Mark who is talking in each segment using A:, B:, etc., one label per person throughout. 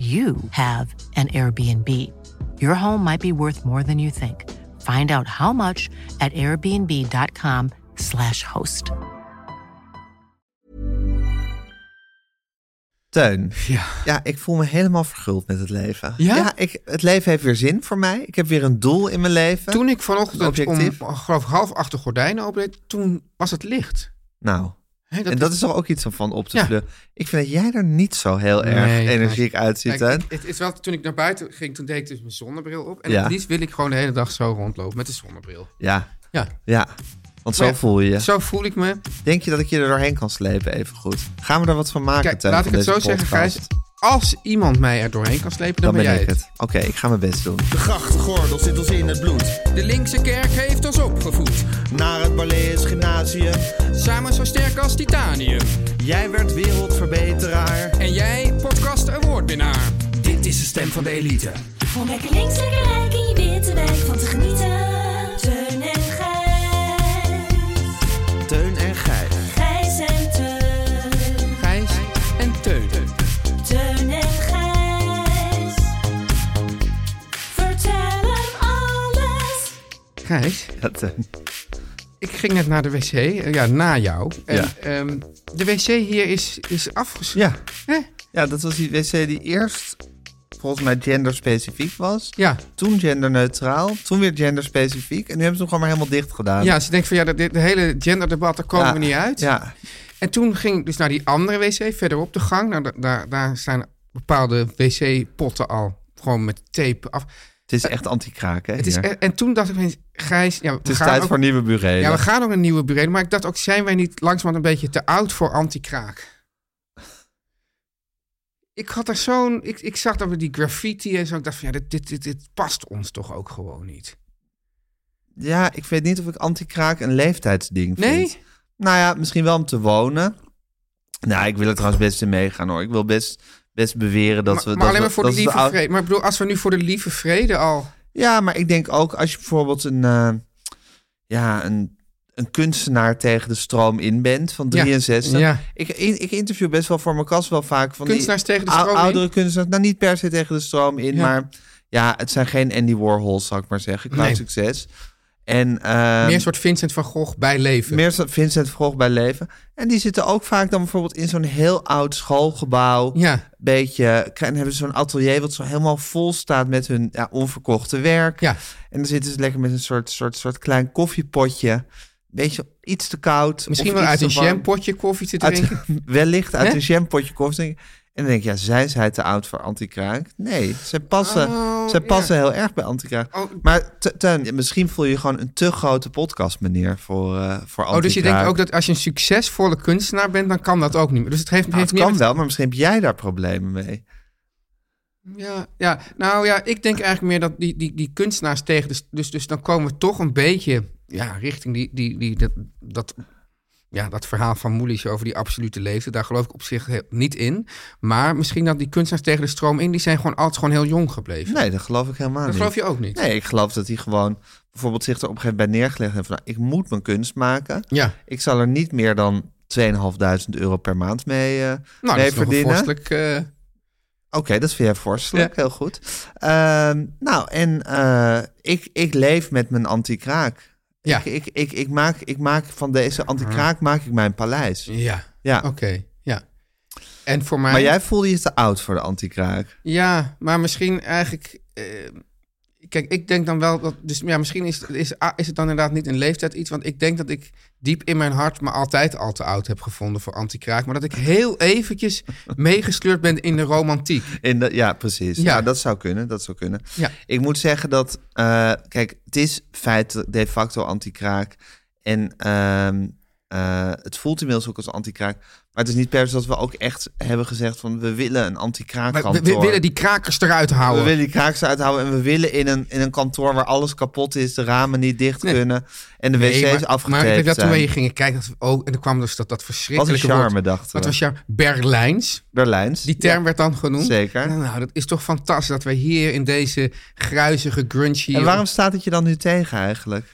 A: you have an Airbnb. Your home might be worth more than you think. Find out how much at airbnb.com/slash host.
B: Teun,
C: Ja.
B: ja, ik voel me helemaal verguld met het leven.
C: Ja?
B: ik, het leven heeft weer zin voor mij. Ik heb weer een doel in mijn leven.
C: Toen ik vanochtend om
B: Objectief.
C: geloof ik, half acht de gordijnen opendeed, toen was het licht.
B: Nou,
C: Hè,
B: en dat is toch ook iets om van op te
C: Ja.
B: vleuren. Ik vind dat jij er niet zo heel
C: Nee,
B: erg
C: nee.
B: energiek uitziet,
C: Kijk,
B: Teun.
C: het, het is wel, toen ik naar buiten ging, toen deed ik dus mijn zonnebril op. En
B: Ja.
C: het liefst wil ik gewoon de hele dag zo rondlopen met de zonnebril.
B: Ja,
C: Ja,
B: ja. Want zo
C: Maar ja,
B: voel je je.
C: zo voel ik me.
B: Denk je dat ik je er doorheen kan slepen even goed? Gaan we daar wat van maken,
C: Kijk,
B: Teun,
C: laat ik
B: van
C: het zo
B: deze
C: zeggen,
B: podcast?
C: Gijs. Als iemand mij er doorheen kan slepen, dan,
B: Dan ben
C: jij
B: ik het. Oké, ik ga mijn best doen.
D: De grachtgordel zit ons in het bloed.
E: De linkse kerk heeft ons opgevoed,
D: Naar het Balees Gymnasium.
E: samen zo sterk als titanium.
D: Jij werd wereldverbeteraar.
E: En jij, podcast awardwinnaar. Dit is de stem van de elite.
F: Om lekker links, lekker rijk in je witte wijk van te genieten. Teun en Gijs.
D: Teun en Gijs.
F: Gijs en Teun.
E: Gijs en Teun.
F: Teun en Gijs. Vertel hem alles.
C: Gijs,
B: Ja, Teun.
C: ik ging net naar de wc. eh, Ja, na jou. En,
B: Ja.
C: ehm, de wc hier is, is afgesloten.
B: Ja. ja, dat was die wc die eerst volgens mij genderspecifiek was.
C: Ja.
B: Toen genderneutraal, toen weer genderspecifiek. En nu hebben ze hem gewoon maar helemaal dicht gedaan.
C: Ja, ze denkt van ja, dat dit, de hele genderdebat, daar komen
B: Ja.
C: we niet uit.
B: Ja,
C: En toen ging ik dus naar die andere wc, verderop de gang. Nou, da- daar, daar zijn bepaalde wc-potten al gewoon met tape af.
B: het is echt anti-kraak, hè?
C: Het is, e-
B: hier.
C: en, en toen dacht ik ineens, Gijs... Ja, we
B: het is
C: gaan
B: tijd
C: ook-
B: voor nieuwe burelen.
C: Ja, we gaan ook een nieuwe burelen. Maar ik dacht ook, zijn wij niet langzamerhand een beetje te oud voor anti-kraak? Ik had er zo'n... Ik, ik zag dat we die graffiti en zo. Ik dacht van, ja, dit, dit, dit, dit past ons toch ook gewoon niet.
B: Ja, ik weet niet of ik anti-kraak een leeftijdsding vind.
C: Nee?
B: Nou ja, misschien wel om te wonen. Nou, ik wil er trouwens best in meegaan hoor. Ik wil best, best beweren dat
C: maar
B: we...
C: maar
B: dat
C: alleen
B: we-
C: maar voor de
B: dat we
C: lieve
B: oud-
C: vrede. Maar ik bedoel, als we nu voor de lieve vrede al...
B: Ja, maar ik denk ook als je bijvoorbeeld een, eh, ja, een, een kunstenaar tegen de stroom in bent van
C: Ja,
B: 63.
C: ja.
B: Ik, ik interview best wel voor mijn kast wel vaak van
C: Kunstenaars
B: die
C: tegen de
B: ou-
C: stroom in?
B: oudere kunstenaars. Nou, niet per se tegen de stroom in,
C: Ja.
B: maar ja, het zijn geen Andy Warhol, zal ik maar zeggen, qua
C: Nee.
B: succes. En, eh,
C: meer een soort Vincent van Gogh bij leven.
B: meer zo- Vincent Vroeg bij leven. En die zitten ook vaak dan bijvoorbeeld in zo'n heel oud schoolgebouw.
C: Ja.
B: Beetje, en hebben ze zo'n atelier wat zo helemaal vol staat met hun ja, onverkochte werk.
C: Ja.
B: En dan zitten ze lekker met een soort, soort, soort klein koffiepotje. Beetje iets te koud.
C: Misschien
B: of iets
C: wel uit
B: te
C: een
B: warm.
C: jampotje koffie te
B: Uit-
C: drinken.
B: wellicht uit
C: Hè?
B: een jampotje koffie. drinken. En dan denk je, ja, zijn zij te oud voor antikraak? Nee, ze passen,
C: Oh,
B: ze
C: ja.
B: passen heel erg bij antikraak.
C: Oh.
B: Maar Te- Teun, misschien voel je gewoon een te grote podcast, meneer, voor, eh voor
C: Oh, dus je denkt
B: antikraak.
C: ook dat als je een succesvolle kunstenaar bent, dan kan dat ook niet meer. Dus het heeft,
B: Nou,
C: heeft
B: het
C: meer
B: kan
C: met-
B: wel, maar misschien heb jij daar problemen mee.
C: Ja, ja, nou ja, ik denk eigenlijk meer dat die, die, die kunstenaars tegen... Dus, dus, dus dan komen we toch een beetje ja, richting die, die, die, dat, dat, ja, dat verhaal van Moelis over die absolute leeftijd. Daar geloof ik op zich he- niet in. Maar misschien dat die kunstenaars tegen de stroom in... die zijn gewoon altijd gewoon heel jong gebleven.
B: Nou, Nee, dat geloof ik helemaal
C: dat
B: niet.
C: geloof je ook niet?
B: Nee, ik geloof dat hij gewoon bijvoorbeeld zich er op een gegeven moment bij neergelegd heeft van... Nou, ik moet mijn kunst maken.
C: Ja.
B: Ik zal er niet meer dan 2.500 euro per maand mee, eh mee
C: Nou, dat is nog een
B: verdienen. Oké,
C: vorstelijk... eh,
B: dat vind jij vorstelijk.
C: Ja.
B: Heel goed. Ehm, nou, en eh, ik, ik leef met mijn anti-kraak.
C: Ja. Mhm.
B: Ik, ik, ik, ik, maak, ik maak van deze anti-kraak maak ik mijn paleis.
C: ja.
B: Ja.
C: Oké, ja. En voor mij...
B: Maar jij voelde je te oud voor de anti-kraak.
C: Ja, maar misschien eigenlijk... eh, kijk, ik denk dan wel dat... Dus ja, misschien is, is, is het dan inderdaad niet een leeftijd iets. Want ik denk dat ik diep in mijn hart me altijd al te oud heb gevonden voor anti-kraak. Maar dat ik heel eventjes meegesleurd ben in de romantiek.
B: In de, ja, precies. Ja.
C: Ja.
B: dat zou kunnen. Dat zou kunnen.
C: Ja.
B: Ik moet zeggen dat, eh, kijk, het is feit de facto anti-kraak. En ehm, eh, het voelt inmiddels ook als anti-kraak. Maar het is niet per se dat we ook echt hebben gezegd van we willen een
C: Maar we-
B: anti-kraakkantoor.
C: we, willen die krakers eruit houden.
B: We willen die kraakjes uithouden en we willen in een, in een kantoor waar alles kapot is, de ramen niet dicht
C: Nee.
B: kunnen en de wc's
C: Nee, maar-
B: afgetaped
C: Maar ik denk dat toen
B: zijn.
C: we hier gingen kijken, dat we, oh, en dan kwam dus dat, dat
B: Wat een
C: verschrikkelijke
B: charme, eh.
C: woord.
B: dachten
C: Wat
B: we.
C: was ja Berlijns.
B: Berlijns.
C: Die term werd dan genoemd.
B: Zeker.
C: Nou, dat is toch fantastisch dat wij hier in deze gruizige, grungy...
B: En waarom staat het je dan nu tegen eigenlijk?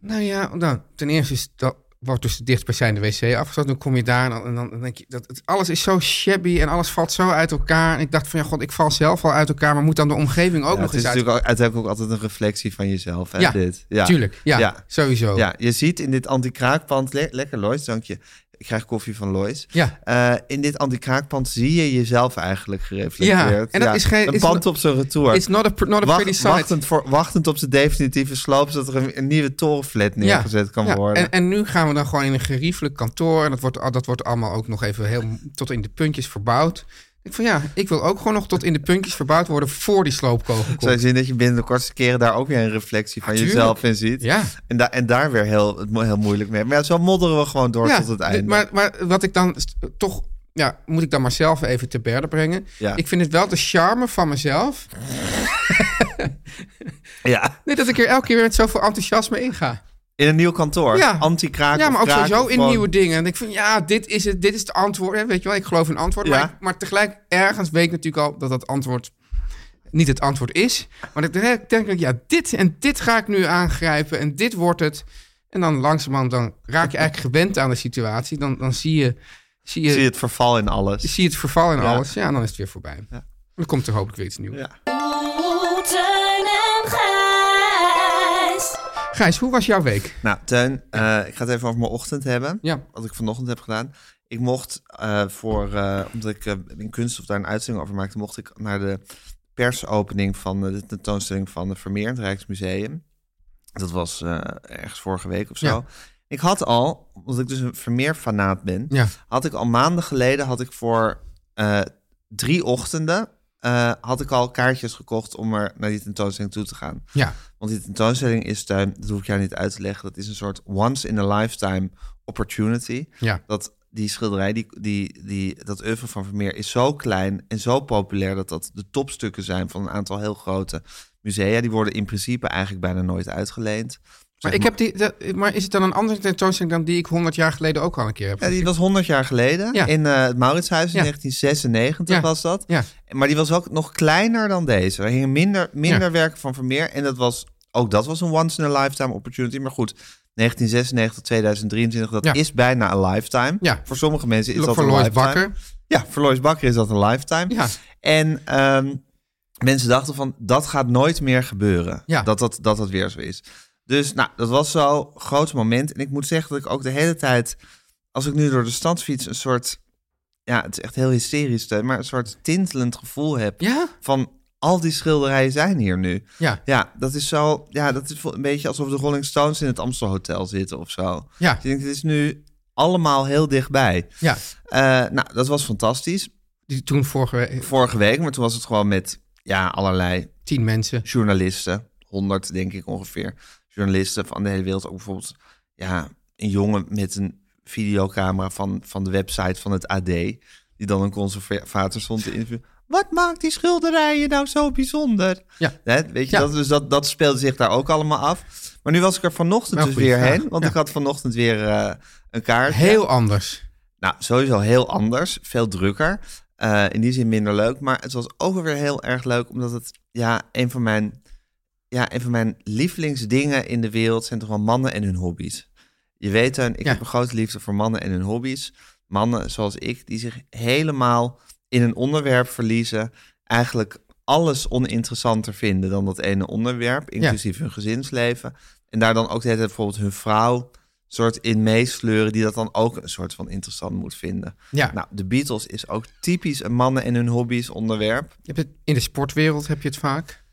C: Nou ja, nou, ten eerste is dat, wordt dus de dichtstbijzijnde wc afgesloten. Dan kom je daar en dan, en dan denk je... Dat, het- alles is zo shabby en alles valt zo uit elkaar. En ik dacht van, ja god, ik val zelf al uit elkaar... maar moet dan de omgeving ook
B: Ja, het
C: nog
B: is
C: eens uit...
B: natuurlijk al- uiteindelijk ook altijd een reflectie van jezelf. Hè,
C: Ja,
B: dit. ja,
C: Tuurlijk, ja,
B: Ja.
C: sowieso.
B: Ja, je ziet in dit anti-kraakpand, le- lekker Lois, dank je. Ik krijg koffie van Lois.
C: Ja.
B: Eh, in dit anti-kraakpand zie je jezelf eigenlijk gereflecteerd.
C: Ja, en dat is geen-
B: Een
C: is
B: pand
C: een-
B: op zijn retour.
C: It's not a, pr- not a pretty
B: Wacht,
C: sight.
B: wachtend, voor, wachtend op zijn definitieve sloop, zodat er een, een nieuwe torenflat neergezet kan
C: ja.
B: worden.
C: En, en nu gaan we dan gewoon in een geriefelijk kantoor. En dat wordt, al- dat wordt allemaal ook nog even heel, tot in de puntjes verbouwd. Ik van ja, ik wil ook gewoon nog tot in de puntjes verbouwd worden voor die sloopkogel
B: Zou je
C: komt.
B: zien dat je binnen de kortste keren daar ook weer een reflectie van
C: tuurlijk.
B: jezelf in ziet.
C: Ja.
B: En, da en daar weer heel, het mo- heel moeilijk mee. Maar ja, zo modderen we gewoon door
C: ja,
B: tot het
C: dit-
B: einde.
C: Maar, maar wat ik dan st- toch, ja, moet ik dan maar zelf even te berden brengen.
B: Ja.
C: Ik vind het wel de charme van mezelf.
B: Ja,
C: Nee, dat ik er elke keer weer met zoveel enthousiasme in ga.
B: in een nieuw kantoor.
C: Ja.
B: Anti-kraak
C: Ja,
B: of
C: maar ook
B: kraak
C: sowieso
B: of
C: in
B: gewoon-
C: nieuwe dingen. En ik vind, ja, dit is het, dit is het antwoord. hè, Weet je wel, ik geloof in een antwoord.
B: Ja.
C: Maar, ik- maar tegelijk, ergens weet ik natuurlijk al dat dat antwoord niet het antwoord is. Maar ik denk- ik denk, ja, dit en dit ga ik nu aangrijpen en dit wordt het. En dan langzamerhand, dan raak je eigenlijk gewend aan de situatie. Dan, dan zie, je, zie, je,
B: Zie
C: zie,
B: je het verval in alles.
C: je, het verval in
B: Ja.
C: alles. Ja, dan is het weer voorbij. Dan komt er hopelijk weer iets nieuws.
B: Ja.
F: Oeh, Teun en Gijs.
C: Gijs, hoe was jouw week?
B: Nou, Teun, eh, ik ga het even over mijn ochtend hebben.
C: Ja.
B: Wat ik vanochtend heb gedaan. Ik mocht eh, voor, eh, omdat ik eh, in kunst of daar een uitzending over maakte, mocht ik naar de persopening van eh, de tentoonstelling van de Vermeer in het Rijksmuseum. Dat was eh, ergens vorige week of zo.
C: Ja.
B: Ik had al, omdat ik dus een Vermeer-fanaat ben,
C: Ja.
B: had ik al maanden geleden, had ik voor eh, drie ochtenden, eh, had ik al kaartjes gekocht om er naar die tentoonstelling toe te gaan.
C: Ja.
B: Want die tentoonstelling is, Teun, dat hoef ik jou niet uit te leggen, dat is een soort once in a lifetime opportunity.
C: Ja.
B: Dat die schilderij, die, die, die, dat oeuvre van Vermeer is zo klein en zo populair dat dat de topstukken zijn van een aantal heel grote musea. Die worden in principe eigenlijk bijna nooit uitgeleend.
C: Maar, ik heb die, dat- maar is het dan een andere tentoonstelling dan die ik 100 jaar geleden ook al een keer heb?
B: Ja, die was 100 jaar geleden
C: Ja.
B: in eh, het Mauritshuis in
C: Ja.
B: 1996
C: Ja.
B: was dat.
C: Ja.
B: Maar die was ook nog kleiner dan deze. Er hingen minder, minder
C: Ja.
B: werken van Vermeer. En dat was, ook dat was een once in a lifetime opportunity. Maar goed, 1996, 2023, dat
C: Ja.
B: is bijna een lifetime.
C: Ja.
B: Voor sommige mensen is
C: Lo-
B: dat
C: voor
B: een
C: Lois
B: lifetime.
C: Bakker.
B: Ja, voor Lois Bakker is dat een lifetime.
C: Ja.
B: En ehm, mensen dachten van, dat gaat nooit meer gebeuren.
C: Ja.
B: Dat, dat, dat dat weer zo is. Dus nou, dat was zo'n groot moment. En ik moet zeggen dat ik ook de hele tijd, als ik nu door de stad fiets, een soort, ja, het is echt heel hysterisch, Teun, maar een soort tintelend gevoel heb
C: Ja?
B: van al die schilderijen zijn hier nu.
C: Ja.
B: Ja, dat is zo, ja, dat is een beetje alsof de Rolling Stones in het Amstel Hotel zitten of zo.
C: Ja.
B: Dus ik denk, het is nu allemaal heel dichtbij.
C: Ja.
B: Eh, nou, dat was fantastisch.
C: Die toen vorige week
B: Vorige week, maar toen was het gewoon met ja, allerlei
C: tien mensen.
B: journalisten, 100 denk ik ongeveer, journalisten van de hele wereld. Ook bijvoorbeeld ja, een jongen met een videocamera van, van de website van het AD, die dan een conservator stond te interviewen. Wat maakt die schilderijen nou zo bijzonder?
C: Ja.
B: Hè, weet je,
C: Ja.
B: dat, dus dat, dat speelde zich daar ook allemaal af. Maar nu was ik er vanochtend
C: Wel
B: dus
C: Nou, goeie
B: weer
C: vraag.
B: heen, want
C: Ja.
B: ik had vanochtend weer eh, een kaart.
C: Heel anders.
B: Nou, sowieso heel anders, veel drukker. Eh, in die zin minder leuk, maar het was ook wel weer heel erg leuk, omdat het ja, een van mijn, ja, een van mijn lievelingsdingen in de wereld zijn toch wel mannen en hun hobby's. Je weet dan, ik
C: Ja.
B: heb een grote liefde voor mannen en hun hobby's. Mannen zoals ik, die zich helemaal in een onderwerp verliezen, eigenlijk alles oninteressanter vinden dan dat ene onderwerp, inclusief hun gezinsleven. En daar dan ook de hele tijd bijvoorbeeld hun vrouw soort in meesleuren die dat dan ook een soort van interessant moet vinden.
C: Ja.
B: Nou, de Beatles is ook typisch een mannen en hun hobby's onderwerp.
C: Je hebt het, in de sportwereld heb je het vaak.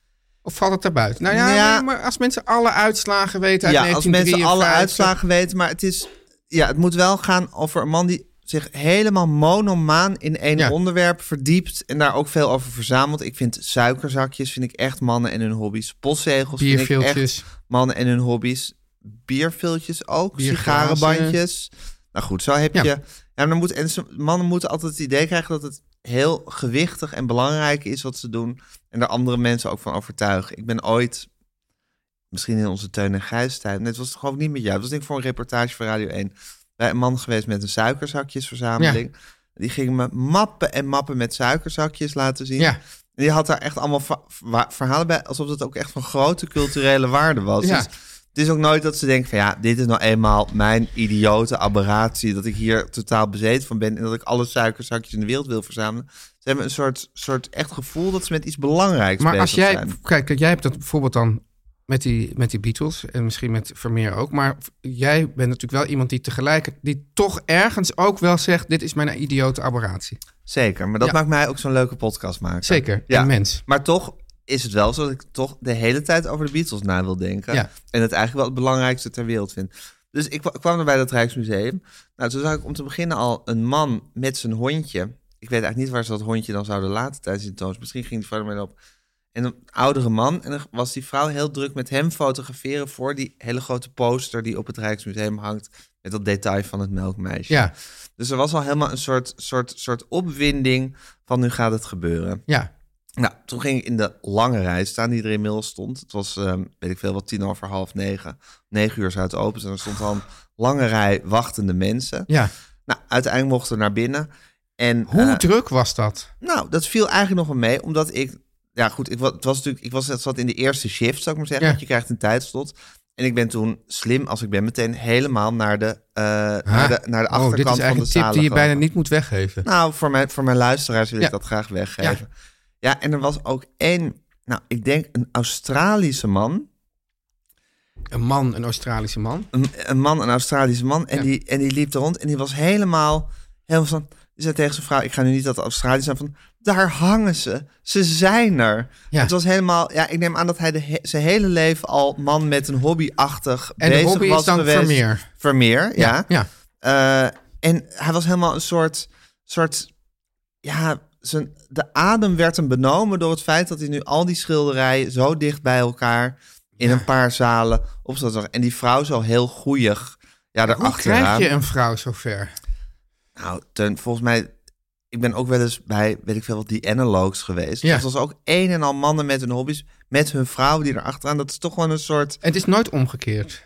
C: Of valt het daarbuiten? Nou ja,
B: Ja.
C: nee, maar als mensen alle uitslagen weten uit
B: ja, als mensen alle
C: 1953.
B: uitslagen weten, maar het is, ja, het moet wel gaan over een man die zich helemaal monomaan in één
C: Ja.
B: onderwerp verdiept en daar ook veel over verzamelt. Ik vind suikerzakjes vind ik echt mannen en hun hobby's. Postzegels vind ik echt
C: Bierviltjes.
B: mannen en hun hobby's. Bierviltjes ook,
C: Bierglazen.
B: sigarenbandjes. Nou goed, zo heb
C: Ja.
B: je. Ja, maar dan moet, en ze- mannen moeten altijd het idee krijgen dat het heel gewichtig en belangrijk is wat ze doen. En daar andere mensen ook van overtuigen. Ik ben ooit, misschien in onze Teun en Gijs tijd, net was het gewoon niet met jou. Dat was denk ik voor een reportage voor Radio 1. Bij een man geweest met een suikerzakjesverzameling. Die ging me mappen en mappen met suikerzakjes laten zien.
C: Ja.
B: En die had daar echt allemaal va- wa- verhalen bij, alsof dat ook echt van grote culturele waarde was.
C: Ja.
B: Dus het is ook nooit dat ze denken van ja, dit is nou eenmaal mijn idiote aberratie, dat ik hier totaal bezeten van ben en dat ik alle suikerzakjes in de wereld wil verzamelen. Ze hebben een soort, soort echt gevoel dat ze met iets belangrijks
C: Maar als
B: bezig
C: jij,
B: zijn.
C: kijk, kijk, jij hebt dat bijvoorbeeld dan met die, met die Beatles en misschien met Vermeer ook. Maar v- jij bent natuurlijk wel iemand die tegelijk, die toch ergens ook wel zegt: Dit is mijn idiote aberratie.
B: Zeker, maar dat
C: Ja.
B: maakt mij ook zo'n leuke podcast maken.
C: Zeker, een mens.
B: Maar toch is het wel zo dat ik toch de hele tijd over de Beatles na wil denken.
C: Ja.
B: En het eigenlijk wel het belangrijkste ter wereld vind. Dus ik kwa- kwam er bij dat Rijksmuseum. Nou, toen zag ik om te beginnen al een man met zijn hondje. Ik weet eigenlijk niet waar ze dat hondje dan zouden laten tijdens die toons. Misschien ging die vrouw ermee op. En een oudere man. En dan was die vrouw heel druk met hem fotograferen voor die hele grote poster die op het Rijksmuseum hangt. Met dat detail van het melkmeisje.
C: Ja,
B: Dus er was al helemaal een soort, soort, soort opwinding van nu gaat het gebeuren.
C: ja.
B: Nou, toen ging ik in de lange rij staan die er inmiddels stond. Het was, ehm, weet ik veel, wat tien over half negen. Negen uur zou het open zijn. Er stond al een lange rij wachtende mensen.
C: ja.
B: Nou, uiteindelijk mochten we naar binnen. En,
C: Hoe
B: eh,
C: druk was dat?
B: nou, dat viel eigenlijk nog wel mee, omdat ik... Ja, goed, ik, wa- het was natuurlijk, ik was, het zat in de eerste shift, zou ik maar zeggen.
C: Ja.
B: Want je krijgt een tijdslot. En ik ben toen, slim als ik ben, meteen helemaal naar de, eh, naar de, naar de
C: oh, dit is
B: achterkant van
C: eigenlijk
B: de
C: een tip
B: zaal.
C: die je bijna niet moet weggeven.
B: Nou, voor mijn, voor mijn luisteraars wil
C: Ja.
B: ik dat graag weggeven. Ja. en er was ook één, nou, ik denk een Australische man.
C: Een man, een Australische man.
B: Een, een man, een Australische man. En,
C: Ja.
B: die, en die liep er rond en die was helemaal, helemaal van... Die zei tegen zijn vrouw, ik ga nu niet dat Australië zijn van... Daar hangen ze. Ze zijn er.
C: Ja.
B: Het was helemaal... Ja, ik neem aan dat hij de he- zijn hele leven al man met een hobby-achtig
C: En de
B: bezig
C: hobby is
B: was
C: dan
B: geweest.
C: Vermeer.
B: Vermeer, ja.
C: ja.
B: Eh, en hij was helemaal een soort, soort ja, zijn, de adem werd hem benomen door het feit dat hij nu al die schilderijen zo dicht bij elkaar in een paar zalen op zat. te wachten. En die vrouw zo heel goeig, ja,
C: Hoe krijg
B: daarachteraan.
C: je een vrouw zover?
B: Nou, ten, volgens mij, ik ben ook wel eens bij, weet ik veel wat, die analogs geweest.
C: Ja.
B: Dus dat was ook een en al mannen met hun hobby's, met hun vrouw die erachteraan. Dat is toch gewoon een soort,
C: Het is nooit omgekeerd.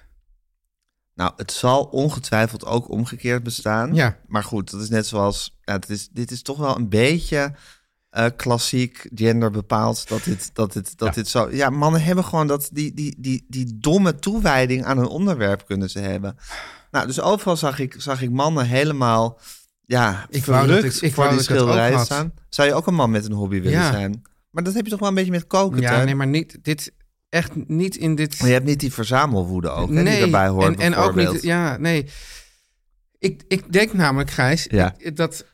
B: nou, het zal ongetwijfeld ook omgekeerd bestaan.
C: Ja.
B: Maar goed, dat is net zoals. Ja, het is, dit is toch wel een beetje eh, klassiek gender bepaald. Dat dit, dat dit, dat dit zo. Ja, mannen hebben gewoon dat, die, die, die, die domme toewijding aan een onderwerp kunnen ze hebben. Nou, dus overal zag ik, zag ik mannen helemaal. Ja,
C: Ik wou dat
B: verrukt
C: ik- ik
B: voor
C: wou
B: die
C: dat ik dat ook
B: schilderijen
C: had.
B: staan. Zou je ook een man met een hobby willen
C: Ja.
B: zijn? Maar dat heb je toch wel een beetje met koken,
C: Ja,
B: Teun?
C: nee, maar niet, dit, echt niet in dit...
B: Maar je hebt niet die verzamelwoede ook, hè, die erbij hoort
C: en, en ook niet.
B: bijvoorbeeld.
C: Ja, nee. Ik, ik denk namelijk, Gijs,
B: Ja.
C: ik- dat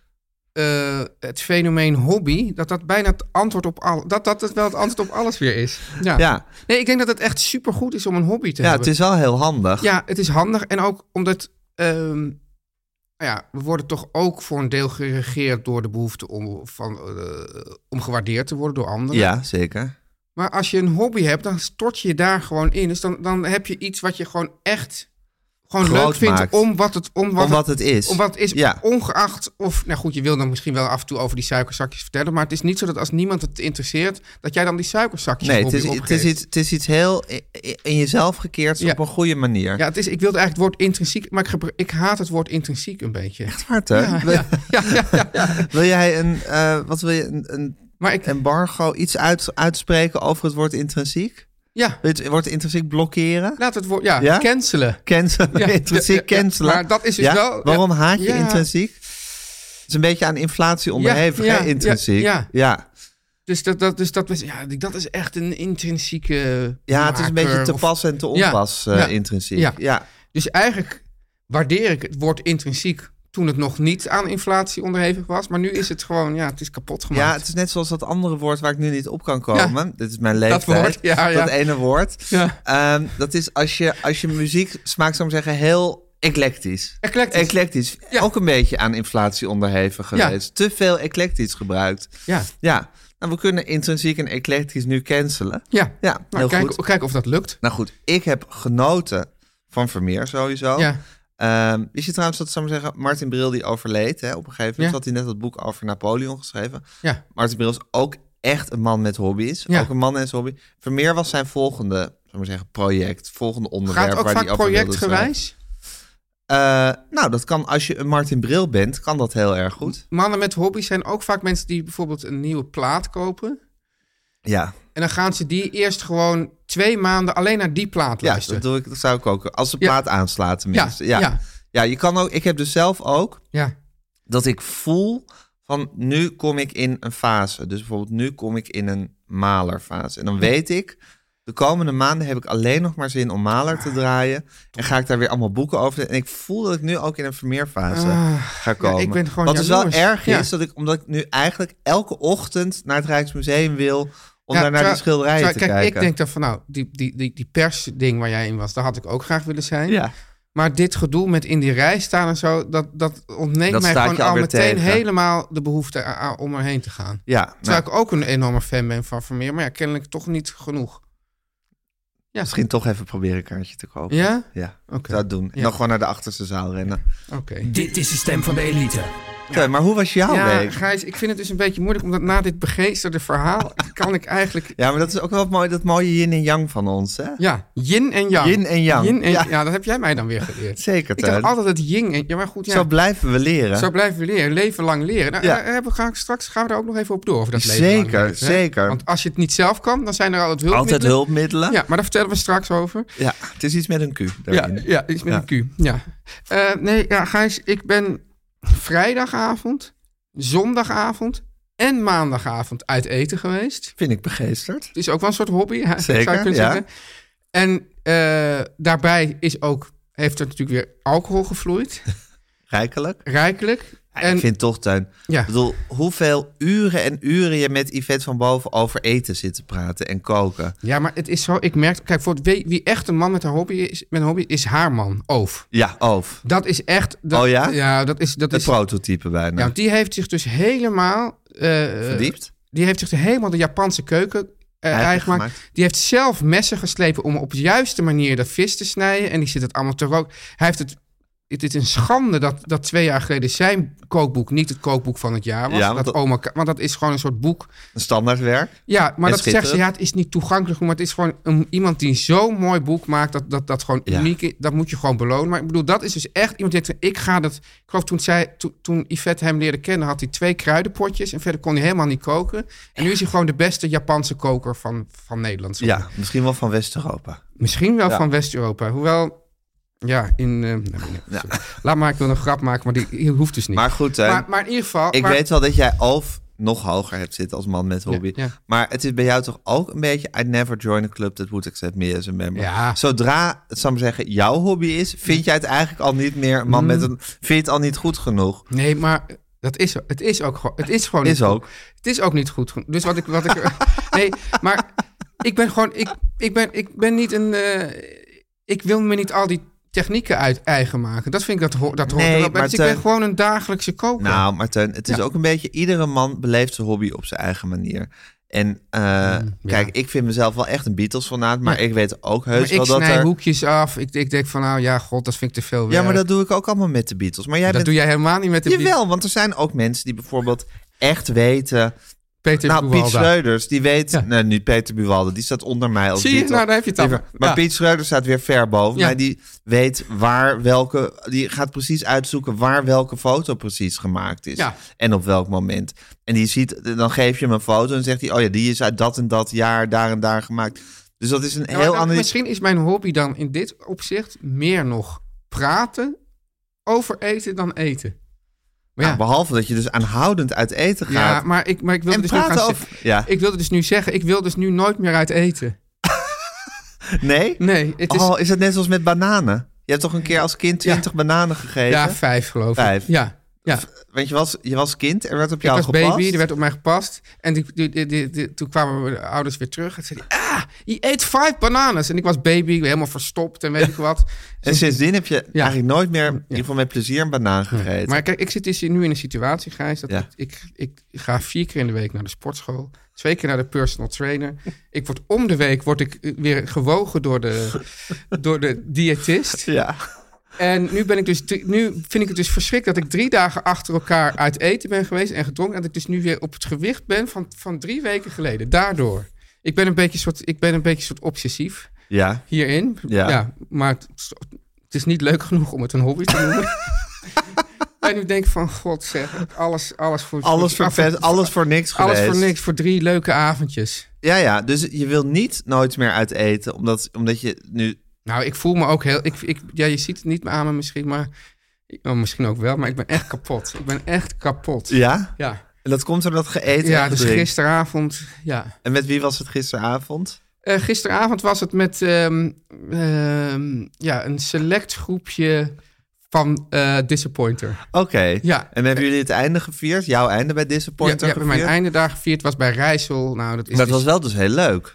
C: eh, het fenomeen hobby, dat dat bijna het antwoord op al, dat dat het wel het antwoord op alles weer is. Ja.
B: Ja.
C: Nee, ik denk dat het echt supergoed is om een hobby te
B: ja, het
C: hebben.
B: is wel heel handig.
C: Ja, het is handig en ook omdat. ehm, nou ja, we worden toch ook voor een deel geregeerd door de behoefte om, van, eh, om gewaardeerd te worden door anderen.
B: ja zeker.
C: Maar als je een hobby hebt, dan stort je je daar gewoon in. Dus dan, dan heb je iets wat je gewoon echt gewoon
B: Groot
C: leuk vindt
B: maakt.
C: om wat het, om wat
B: Om wat het is.
C: om wat het is.
B: Ja.
C: Ongeacht of, nou goed, je wil dan misschien wel af en toe over die suikerzakjes vertellen. Maar het is niet zo dat als niemand het interesseert, dat jij dan die suikerzakjes
B: Nee, het
C: hobby
B: is, het,
C: opgeeft.
B: is iets, het is iets heel i- i- in jezelf gekeerd
C: Ja.
B: op een goede manier.
C: Ja, het is, ik wilde eigenlijk het woord intrinsiek, maar ik, gebru- ik haat het woord intrinsiek een beetje.
B: Hart, hè? wil,
C: Ja, ja, ja, ja.
B: wil jij een, eh, wat wil je, een, een
C: Maar ik,
B: embargo, iets uit, uitspreken over het woord intrinsiek?
C: ja,
B: Wil je het woord intrinsiek blokkeren?
C: laat het woord, ja,
B: Ja?
C: cancelen.
B: Cancelen,
C: Ja,
B: intrinsiek
C: ja, ja, ja.
B: cancelen.
C: Maar dat is dus wel- ja.
B: Waarom haat je
C: Ja.
B: intrinsiek? Het is een beetje aan inflatie onderhevig,
C: ja,
B: hè,
C: ja,
B: intrinsiek.
C: ja.
B: ja.
C: Dus dat, dat, dus dat, is- ja, dat is echt een intrinsieke.
B: Ja, het is een beetje
C: maker
B: te
C: of-
B: pas en te
C: Ja,
B: onpas, eh,
C: ja,
B: intrinsiek.
C: ja.
B: ja.
C: Dus eigenlijk waardeer ik het woord intrinsiek toen het nog niet aan inflatie onderhevig was. Maar nu is het gewoon, ja, het is kapot
B: Ja,
C: gemaakt.
B: het is net zoals dat andere woord waar ik nu niet op kan komen. Dit is mijn leeftijd.
C: woord, ja, ja.
B: Dat ene woord.
C: Ja.
B: Ehm, dat is als je, als je muziek smaakt, zou ik zeggen, heel eclectisch.
C: Eclectisch.
B: Eclectisch.
C: Ja.
B: Ook een beetje aan inflatie onderhevig
C: Ja.
B: geweest. Te veel eclectisch gebruikt.
C: Ja.
B: Ja. Nou, we kunnen intrinsiek en eclectisch nu cancelen.
C: ja.
B: Ja,
C: nou,
B: heel
C: kijk,
B: goed.
C: kijk of dat lukt.
B: Nou goed, ik heb genoten van Vermeer sowieso.
C: Ja.
B: Ehm, wist je trouwens dat, zou ik maar zeggen, Martin Bril die overleed hè, op een gegeven moment.
C: Ja.
B: Had hij net dat boek over Napoleon geschreven.
C: Ja.
B: Martin Bril is ook echt een man met hobby's.
C: Ja.
B: Ook een man en zijn hobby. Vermeer was zijn volgende, zou ik maar zeggen, project. Volgende onderwerp
C: Gaat het ook
B: waar
C: vaak
B: hij over wilde schrijven.
C: projectgewijs?
B: Eh, nou, dat kan als je een Martin Bril bent, kan dat heel erg goed.
C: Mannen met hobby's zijn ook vaak mensen die bijvoorbeeld een nieuwe plaat kopen.
B: Ja,
C: En dan gaan ze die eerst gewoon twee maanden alleen naar die plaat
B: ja
C: luisteren.
B: dat, doe ik, dat zou ik ook. Als de
C: Ja.
B: plaat aanslaat tenminste. Ja, ja.
C: ja.
B: je kan ook. Ik heb dus zelf ook
C: ja.
B: dat ik voel van nu kom ik in een fase. Dus bijvoorbeeld nu kom ik in een malerfase. En dan weet ik, de komende maanden heb ik alleen nog maar zin om maler te draaien. En ga ik daar weer allemaal boeken over. En ik voel dat ik nu ook in een vermeerfase ga komen.
C: Ah, ik ben gewoon
B: Wat dus wel
C: jaloers.
B: erg
C: Ja.
B: is, dat ik, omdat ik nu eigenlijk elke ochtend naar het Rijksmuseum wil... om
C: Ja,
B: daar naar
C: trouw-
B: die schilderijen
C: trouw-
B: te
C: kijk,
B: kijken.
C: ik denk dan van nou, die, die, die, die persding waar jij in was, daar had ik ook graag willen zijn.
B: ja.
C: Maar dit gedoe met in die rij staan en zo, dat, dat ontneemt
B: Dat
C: mij
B: staat
C: gewoon
B: je
C: al
B: alweer
C: meteen
B: tegen.
C: helemaal de behoefte a- a- om erheen te gaan.
B: Ja, nou,
C: Terwijl ik ook een enorme fan ben van Vermeer, maar ja, kennelijk toch niet genoeg. Ja,
B: misschien toch even proberen een kaartje te kopen.
C: Ja?
B: Ja,
C: Oké.
B: zou het doen. En
C: Ja.
B: dan gewoon naar de achterste zaal rennen.
C: Oké.
E: Dit is de stem van de elite.
B: Oké, maar hoe was jouw
C: Ja,
B: week?
C: Gijs, ik vind het dus een beetje moeilijk, omdat na dit begeesterde verhaal kan ik eigenlijk...
B: Ja, maar dat is ook wel het mooie, dat mooie yin en yang van ons, hè?
C: Ja, yin en yang.
B: Yin en yang.
C: Yin en-
B: Ja.
C: ja. dat heb jij mij dan weer geleerd.
B: Zeker,
C: Ik dacht
B: Teun.
C: altijd het yin en... Ja, maar goed, ja.
B: Zo blijven we leren.
C: Zo blijven we leren, leven lang leren. Nou,
B: Ja.
C: daar hebben we, gaan, straks gaan we daar ook nog even op door. Over dat leven
B: Zeker,
C: lang leren, hè?
B: zeker.
C: Want als je het niet zelf kan, dan zijn er altijd hulpmiddelen.
B: Altijd hulpmiddelen. Ja.
C: Ja, maar daar vertellen we straks over.
B: het is iets met een Q.
C: Ja,
B: daarin.
C: ja iets met
B: Ja.
C: een Q. Ja. Eh, nee, ja, Gijs, ik ben vrijdagavond, zondagavond en maandagavond uit eten geweest.
B: Vind ik begeesterd.
C: Het is ook wel een soort hobby, hè,
B: Zeker,
C: zou je kunnen
B: ja.
C: zeggen. En eh, daarbij is ook, heeft er natuurlijk weer alcohol gevloeid.
B: Rijkelijk.
C: Rijkelijk.
B: Ja,
C: En-
B: Ik vind toch, Teun.
C: Ja.
B: Ik bedoel, hoeveel uren en uren je met Yvette van Boven over eten zit te praten en koken.
C: Ja, maar het is zo. Ik merk, kijk, voor wie, wie echt een man met een hobby is, met een hobby is haar man, Oof.
B: Ja, over.
C: Dat is echt. Dat,
B: Oh ja?
C: dat is dat
B: Het
C: is.
B: prototype bijna.
C: Ja, want die heeft zich dus helemaal. eh,
B: Verdiept.
C: Die heeft zich dus helemaal de Japanse keuken eh
B: Eigen
C: eigen gemaakt.
B: gemaakt.
C: Die heeft zelf messen geslepen om op de juiste manier dat vis te snijden. En die zit het allemaal te roken. Hij heeft het. Het is een schande dat, dat twee jaar geleden zijn kookboek niet het kookboek van het jaar was.
B: Ja, want
C: want, dat,
B: dat-
C: oma, Ka- want dat is gewoon een soort boek
B: Een standaardwerk.
C: ja, maar
B: En
C: dat zegt ze,
B: schitterend.
C: ja, het is niet toegankelijk, maar het is gewoon een, iemand die zo'n mooi boek maakt, dat dat, dat gewoon
B: Ja.
C: uniek is, dat moet je gewoon belonen. Maar ik bedoel, dat is dus echt iemand die denkt, ik ga dat, ik geloof toen, zij, to- toen Yvette hem leerde kennen, had hij twee kruidenpotjes en verder kon hij helemaal niet koken. En nu is hij gewoon de beste Japanse koker van, van Nederland. zeg
B: Ja, misschien wel van West-Europa.
C: Misschien wel
B: Ja.
C: van West-Europa. Hoewel, ja, in... eh, nou, nee, sorry. Laat maar, ik wil een grap maken, maar die, die hoeft dus niet.
B: Maar goed, Teun.
C: maar, maar in ieder geval...
B: Ik
C: maar-
B: weet wel dat jij Alf nog hoger hebt zitten als man met hobby.
C: Ja, ja.
B: Maar het is bij jou toch ook een beetje... I never join a club that would accept me as a member.
C: Ja.
B: Zodra, het zal ik maar zeggen, jouw hobby is... vind jij het eigenlijk al niet meer een man
C: Mm.
B: met een... vind je het al niet goed genoeg?
C: Nee, maar dat is, het is ook gewoon. Het is gewoon
B: Is
C: niet goed.
B: ook.
C: Het is ook niet goed. genoeg. Dus wat ik. Wat ik nee, maar ik ben gewoon. Ik, ik, ben, ik ben niet een. eh, ik wil me niet al die technieken uit eigen maken. Dat vind ik dat, ho dat hoort
B: Nee,
C: er wel bij.
B: maar
C: Dus ik ben
B: Teun-
C: gewoon een dagelijkse koker.
B: Nou, Martijn, het is
C: Ja.
B: ook een beetje... iedere man beleeft zijn hobby op zijn eigen manier. En eh,
C: Mm,
B: kijk, ik vind mezelf wel echt een Beatles-fanaat... maar ik weet ook
C: maar
B: heus
C: ik
B: wel dat
C: snij
B: er...
C: hoekjes af. Ik, ik denk van nou ja, god, dat vind ik te veel
B: Ja, maar
C: werk.
B: dat doe ik ook allemaal met de Beatles. Maar jij
C: dat
B: bent...
C: doe jij helemaal niet met de
B: Jawel, want er zijn ook mensen die bijvoorbeeld echt weten...
C: Peter
B: nou, Piet
C: Buwalda.
B: Schreuders, die weet...
C: Ja.
B: Nee, niet Peter Buwalde, die staat onder mij. Als
C: Zie je?
B: Beatle.
C: Nou, daar heb je het al.
B: Maar
C: Ja.
B: Piet Schreuders staat weer ver boven
C: Ja.
B: mij. Die weet waar welke... Die gaat precies uitzoeken waar welke foto precies gemaakt is.
C: Ja.
B: En op welk moment. En die ziet... Dan geef je hem een foto en zegt hij... Oh ja, die is uit dat en dat jaar, daar en daar gemaakt. Dus dat is een
C: Ja, Nou, maar
B: heel
C: dan-
B: ander...
C: Misschien is mijn hobby dan in dit opzicht meer nog praten over eten dan eten. Maar
B: Ja, behalve dat je dus aanhoudend uit eten
C: Ja,
B: gaat.
C: maar ik, maar ik wilde
B: en
C: dus nu gaan
B: praten
C: zeggen-
B: over... Ja,
C: Ik wilde dus nu zeggen, ik wil dus nu nooit meer uit eten.
B: nee?
C: Nee, het is...
B: Oh, is het net zoals met bananen? Je hebt toch een keer als kind 20 bananen gegeten?
C: Ja, vijf geloof ik.
B: Vijf.
C: Ja, ja.
B: Want je was, je was kind, er werd op
C: Ik
B: jou
C: was
B: gepast.
C: baby, er werd op mij gepast. En die, die, die- die- die- toen kwamen mijn ouders weer terug. En zeiden die, ah, je eet vijf bananen. En ik was baby, helemaal verstopt en weet ik wat. Dus-
B: En sindsdien heb je
C: Ja.
B: eigenlijk nooit meer, in ieder geval met plezier, een banaan gegeten.
C: Maar kijk, ik zit dus nu in een situatie, Gijs, dat
B: Ja.
C: ik, ik, ik ga vier keer in de week naar de sportschool. Twee keer naar de personal trainer. Ik word om de week word ik eh, weer gewogen door de, door de diëtist.
B: Ja.
C: En nu, ben ik dus, drie- nu vind ik het dus verschrikkelijk dat ik drie dagen achter elkaar uit eten ben geweest en gedronken. En dat ik dus nu weer op het gewicht ben van, van drie weken geleden. Daardoor. Ik ben een beetje soort, ik ben een beetje soort obsessief
B: Ja.
C: hierin.
B: Ja.
C: maar het, is- het is niet leuk genoeg om het een hobby te noemen. en nu denk ik van, god zeg, alles, alles voor...
B: Alles
C: voor-
B: voor, vet, alles voor niks
C: Alles
B: geweest.
C: voor niks, voor drie leuke avondjes.
B: Ja, ja. Dus je wil niet nooit meer uit eten, omdat, omdat je nu...
C: Nou, ik voel me ook heel... Ik, ik, ja, je ziet het niet meer aan me misschien, maar... oh, misschien ook wel, maar ik ben echt kapot. Ik ben echt kapot.
B: Ja?
C: Ja,
B: En dat komt doordat geëten
C: ja
B: en
C: dus
B: gedrinkt.
C: gisteravond... Ja.
B: En met wie was het gisteravond?
C: Eh, gisteravond was het met ehm, ehm, ja, een select groepje van eh, Disappointer.
B: Oké.
C: Ja.
B: En hebben jullie het einde gevierd? Jouw einde bij Disappointer
C: ja, ja,
B: gevierd?
C: mijn einde daar gevierd was bij Rijssel. Nou, dat is
B: Maar het
C: dus-
B: was wel dus heel leuk.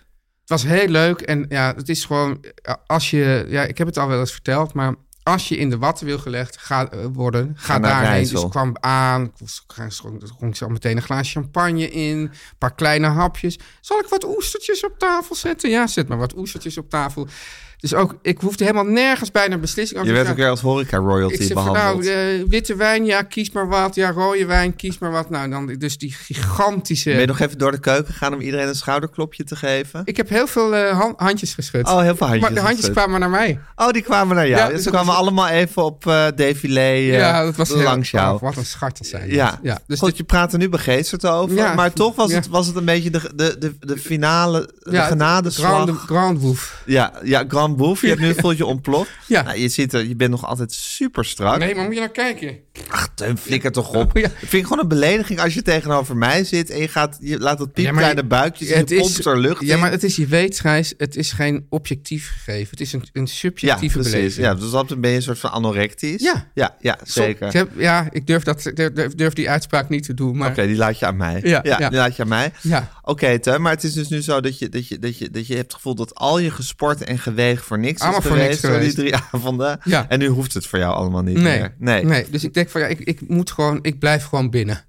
C: het was heel leuk. En ja, het is gewoon, eh, als je, ja, ik heb het al wel eens verteld, maar als je in de watten wil gelegd ga, eh, worden, ga,
B: Ga naar
C: daarheen.
B: Rijssel.
C: Dus ik kwam aan, ik was- ik dronk- dronk ze al meteen een glaas champagne in, een paar kleine hapjes. Zal ik wat oestertjes op tafel zetten? Ja, zet maar wat oestertjes op tafel. Dus ook, ik hoefde helemaal nergens bijna een beslissing over
B: Je
C: te
B: werd ook
C: krijgen.
B: weer als
C: Ik
B: horeca-royalty
C: zeg van, nou,
B: behandeld.
C: eh, witte wijn, ja, kies maar wat. Ja, rode wijn, kies maar wat. Nou, dan dus die gigantische...
B: Ben je nog even door de keuken gaan om iedereen een schouderklopje te geven?
C: Ik heb heel veel eh, han- handjes geschud.
B: Oh, heel veel handjes.
C: maar de handjes
B: geschud.
C: kwamen naar mij.
B: Oh, die kwamen naar jou.
C: Ja,
B: Ja,
C: dus
B: Ze
C: dat
B: kwamen
C: was-
B: allemaal even op eh défilé eh,
C: ja, dat was heel-
B: langs jou.
C: oh, wat een schart dat zijn.
B: Ja.
C: ja. Dus
B: goed,
C: dit-
B: je praat er nu begeesterd over.
C: Ja,
B: maar toch was,
C: ja.
B: het, was het een beetje de, de, de, de finale, de
C: ja,
B: genadeslag.
C: Grand, Grand Woef.
B: Ja, ja, Grand Boef. Je hebt nu het voelt je ontploft.
C: Ja.
B: Nou, je, ziet er, je bent nog altijd super strak.
C: Nee, maar moet je nou kijken.
B: Ach, Teun, flikker toch op.
C: Oh, ja.
B: Ik vind het gewoon een belediging als je tegenover mij zit... en je, gaat, je laat dat piepkleine
C: je-
B: buikje en je pompt er lucht
C: ja,
B: in.
C: maar het is, je weet, Gijs, het is geen objectief gegeven. Het is een, een
B: ja,
C: subjectieve
B: precies.
C: beleving.
B: Ja, dus dan ben je een soort van anorectisch.
C: Ja.
B: ja, ja
C: Som-
B: zeker.
C: Ik heb- ja, ik durf, dat, durf, durf die uitspraak niet te doen, maar
B: Oké, die laat je aan mij.
C: Ja,
B: Ja,
C: ja.
B: die laat je aan mij.
C: Ja.
B: Oké, Teun, maar het is dus nu zo dat je, dat, je, dat, je, dat je hebt het gevoel dat al je gesport en gewegen voor niks
C: Allemaal
B: is
C: voor
B: geweest.
C: niks
B: door
C: geweest.
B: die drie avonden.
C: Ja.
B: En nu hoeft het voor jou allemaal niet
C: nee,
B: meer.
C: nee. Dus ik denk van, ja, ik, ik moet gewoon, ik blijf gewoon binnen.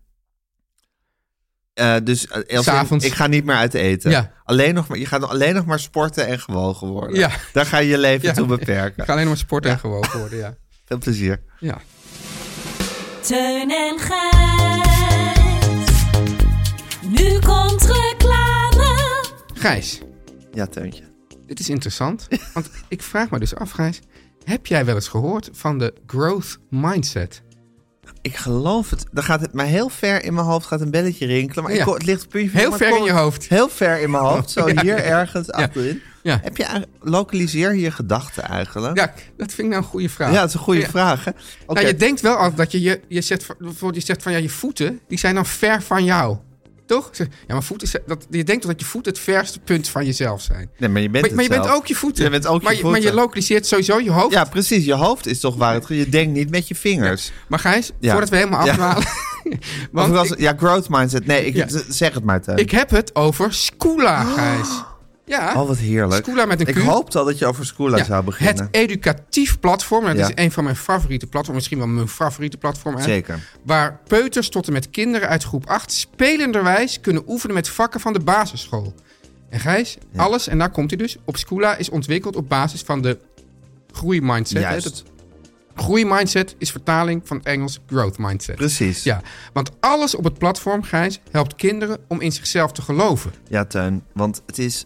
B: Eh, dus eh, als in,
C: S'avonds.
B: ik ga niet meer uit eten.
C: Ja.
B: Alleen nog maar, je gaat alleen nog maar sporten en gewogen worden.
C: Ja.
B: Daar ga je je leven
C: Ja.
B: toe
C: Ik
B: beperken.
C: ga alleen maar sporten en gewogen worden, ja.
B: Veel plezier.
C: Ja.
F: Teun en Gijs. Nu komt reclame.
C: Gijs,
B: Ja, Teuntje.
C: Dit is interessant, want ik vraag me dus af, Gijs. Heb jij wel eens gehoord van de growth mindset?
B: Ik geloof het. Dan gaat het maar heel ver in mijn hoofd gaat een belletje rinkelen. Maar
C: Ja.
B: ik hoor- het ligt op puntje van
C: Heel
B: mijn
C: ver in
B: tong.
C: je hoofd.
B: Heel ver in mijn hoofd. Zo
C: Ja.
B: hier ergens achterin.
C: Ja.
B: Heb je, eigenlijk- lokaliseer je gedachten eigenlijk.
C: Ja, dat vind ik nou een goede vraag.
B: Ja, dat is een goede
C: Ja.
B: vraag. Hè? Oké.
C: Nou, je denkt wel altijd dat je, je, je, zegt, van- bijvoorbeeld je zegt van ja, je voeten, die zijn dan ver van jou. Toch? Zeg, Ja, maar voeten, zijn- dat, je denkt toch dat je voeten het verste punt van jezelf zijn.
B: Nee, maar je bent,
C: Maar, maar je
B: het
C: bent
B: zelf.
C: ook je voeten.
B: Je bent ook
C: maar,
B: je voeten.
C: Maar je lokaliseert sowieso je hoofd.
B: Ja, precies. Je hoofd is toch waar het Je denkt niet met je vingers.
C: Maar Gijs,
B: Ja.
C: voordat we helemaal
B: Ja.
C: afdwalen.
B: Of
C: want
B: was-
C: ik,
B: ja, growth mindset. Nee, ik,
C: Ja.
B: z- zeg het maar, Teun.
C: ik heb het over Scula, Gijs. Ja.
B: Oh, wat heerlijk.
C: Scula met een
B: ik
C: Q.
B: hoopte al dat je over Scula
C: Ja,
B: zou beginnen.
C: Het educatief platform, dat
B: Ja.
C: is een van mijn favoriete platformen, misschien wel mijn favoriete platform. eigenlijk,
B: Zeker.
C: Waar peuters tot en met kinderen uit groep 8 spelenderwijs kunnen oefenen met vakken van de basisschool. En Gijs, alles, en daar komt hij dus, op Scula is ontwikkeld op basis van de groeimindset. hè.
B: Juist.
C: Dat- Groeimindset is vertaling van het Engels growth mindset.
B: Precies. Ja.
C: Ja, want alles op het platform, Gijs, helpt kinderen om in zichzelf te geloven.
B: Teun. Want het is...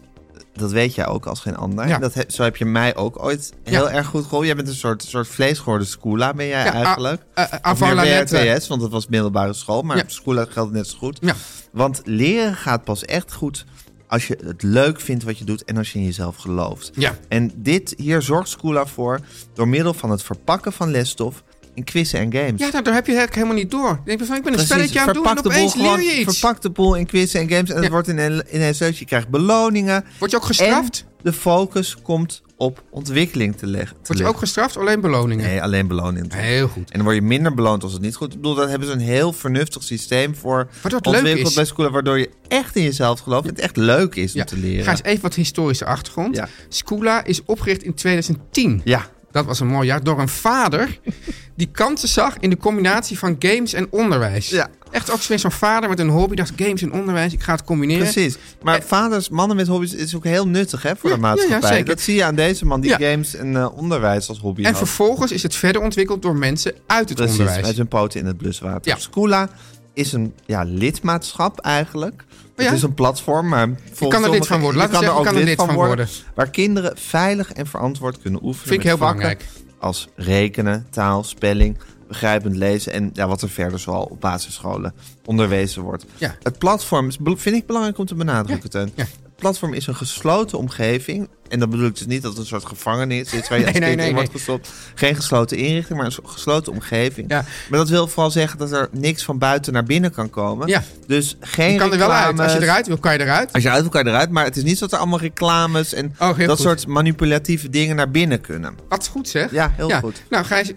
B: Dat weet jij ook als geen ander.
C: Ja.
B: Dat he- zo heb je mij ook ooit heel erg goed geholpen. Jij bent een soort, soort vlees geworden Scula, ben jij
C: Ja, ah, eh,
B: eigenlijk.
C: a- a-
B: Of meer
C: avant la lettre.
B: WRTS, want dat was middelbare school. Maar
C: Ja.
B: op Scula geldt net zo goed.
C: Ja.
B: Want leren gaat pas echt goed als je het leuk vindt wat je doet en als je in jezelf gelooft.
C: Ja.
B: En dit hier zorgt Scula voor door middel van het verpakken van lesstof in quizzen en games.
C: Ja, nou, daar heb je eigenlijk helemaal niet door. Ik denk van, ik ben een spelletje aan het doen en
B: verpak de boel
C: opeens leer je
B: gewoon-
C: iets.
B: Verpak de boel in quizzen en games en het wordt in een, in een leuk. Je krijgt beloningen.
C: Word je ook gestraft?
B: En de focus komt op ontwikkeling te leggen. Te
C: Wordt je
B: leggen.
C: ook gestraft? Alleen beloningen?
B: Nee, alleen beloning.
C: Heel goed.
B: En dan word je minder beloond als het niet goed. Ik bedoel, daar hebben ze een heel vernuftig systeem voor
C: Waardoor het leuk
B: ontwikkeld
C: is.
B: bij scholen, waardoor je echt in jezelf gelooft en het echt leuk is om
C: Ja.
B: te leren.
C: Ga eens even wat historische achtergrond.
B: Ja.
C: Skoola is opgericht in 2010.
B: Ja,
C: Dat was een mooi jaar. Door een vader die kansen zag in de combinatie van games en onderwijs.
B: Ja.
C: Echt ook zo'n vader met een hobby. Dacht games en onderwijs, ik ga het combineren.
B: precies. Maar vaders, mannen met hobby's is ook heel nuttig hè, voor
C: Ja,
B: de
C: ja, ja,
B: maatschappij.
C: zeker.
B: Dat zie je aan deze man die
C: Ja.
B: games en eh, onderwijs als hobby
C: En
B: had.
C: vervolgens is het verder ontwikkeld door mensen uit het
B: Precies,
C: onderwijs.
B: met zijn poten in het bluswater.
C: Ja.
B: Skoola is een ja, lidmaatschap eigenlijk.
C: Oh ja.
B: Het is een platform, maar volgens
C: er
B: sommigen-
C: lid van worden. Laten we
B: je
C: zeggen,
B: er
C: je
B: ook
C: kan er lid van
B: Waar kinderen veilig en verantwoord kunnen oefenen.
C: Vind ik
B: met
C: heel
B: vakken
C: belangrijk.
B: Als rekenen, taal, spelling, begrijpend lezen en ja, wat er verder zoal op basisscholen onderwezen wordt.
C: Ja.
B: Het platform is, be- vind ik belangrijk om te benadrukken, Teun.
C: ja.
B: Het platform is een gesloten omgeving. En dat bedoel ik dus niet dat het een soort gevangenis is waar je
C: Nee,
B: als
C: nee,
B: kind
C: nee,
B: in wordt
C: nee.
B: gestopt. Geen gesloten inrichting, maar een soort gesloten omgeving.
C: Ja.
B: Maar dat wil vooral zeggen dat er niks van buiten naar binnen kan komen.
C: Ja.
B: Dus geen
C: Je kan er wel uit. Als je
B: reclames.
C: eruit wil, kan je eruit.
B: Als je uit elkaar eruit, maar het is niet zo dat er allemaal reclames en
C: Oh, heel
B: dat
C: goed.
B: soort manipulatieve dingen naar binnen kunnen.
C: Wat is goed zeg.
B: Ja, heel goed.
C: Nou Gijs,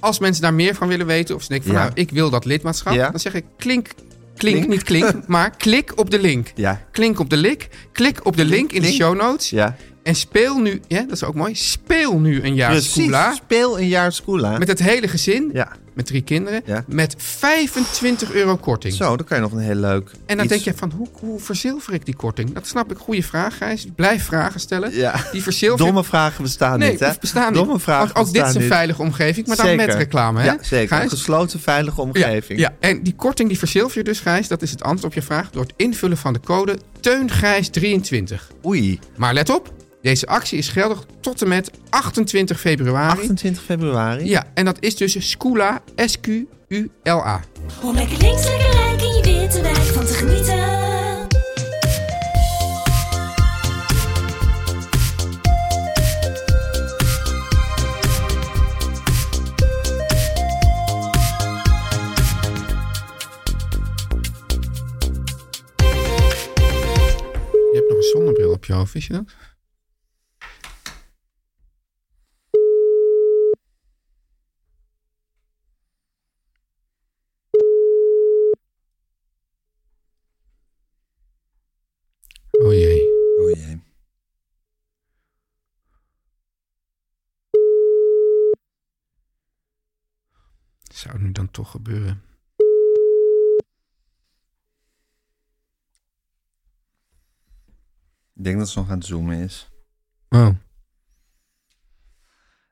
C: als mensen daar meer van willen weten... of ze denken van
B: Ja.
C: nou, ik wil dat lidmaatschap...
B: Ja.
C: dan zeg ik klink, klink, niet klink... maar klik op de link.
B: Ja.
C: Klink op de link. Klik op de link in de
B: link.
C: show notes.
B: Ja,
C: En speel nu... Ja, dat is ook mooi. Speel nu een jaar
B: precies.
C: Scoola.
B: Dus Speel een jaar Scoola.
C: Met het hele gezin.
B: Ja.
C: Met drie kinderen.
B: Ja.
C: Met 25 euro korting.
B: Zo, dan kan je nog een heel leuk.
C: En dan
B: iets-
C: denk je van, hoe, hoe verzilver ik die korting? Dat snap ik. Goede vraag, Gijs. Blijf vragen stellen.
B: Ja.
C: Die verzilver...
B: Domme vragen bestaan
C: Nee,
B: niet, hè?
C: of bestaan
B: Domme
C: niet.
B: vragen
C: ook, ook dit is
B: bestaan
C: een
B: niet.
C: veilige omgeving, maar dan
B: Zeker.
C: met reclame, hè?
B: Ja, zeker. Een
C: Gijs?
B: gesloten, veilige
C: Ja,
B: omgeving.
C: ja, en die korting die verzilver je dus, Gijs, dat is het antwoord op je vraag... door het invullen van de code TEUNGRIJS23.
B: Oei,
C: Maar let op, deze actie is geldig tot en met 28 februari.
B: 28 februari.
C: Ja, en dat is dus Skoola, S-Q-U-L-A.
F: Om lekker links, lekker rijk in je witte wijk van te genieten.
C: Je hebt nog een zonnebril op je hoofd, wist je dat? Oh jee.
B: Oh jee.
C: Zou nu dan toch gebeuren?
B: Ik denk dat ze nog aan het zoomen is.
C: Oh.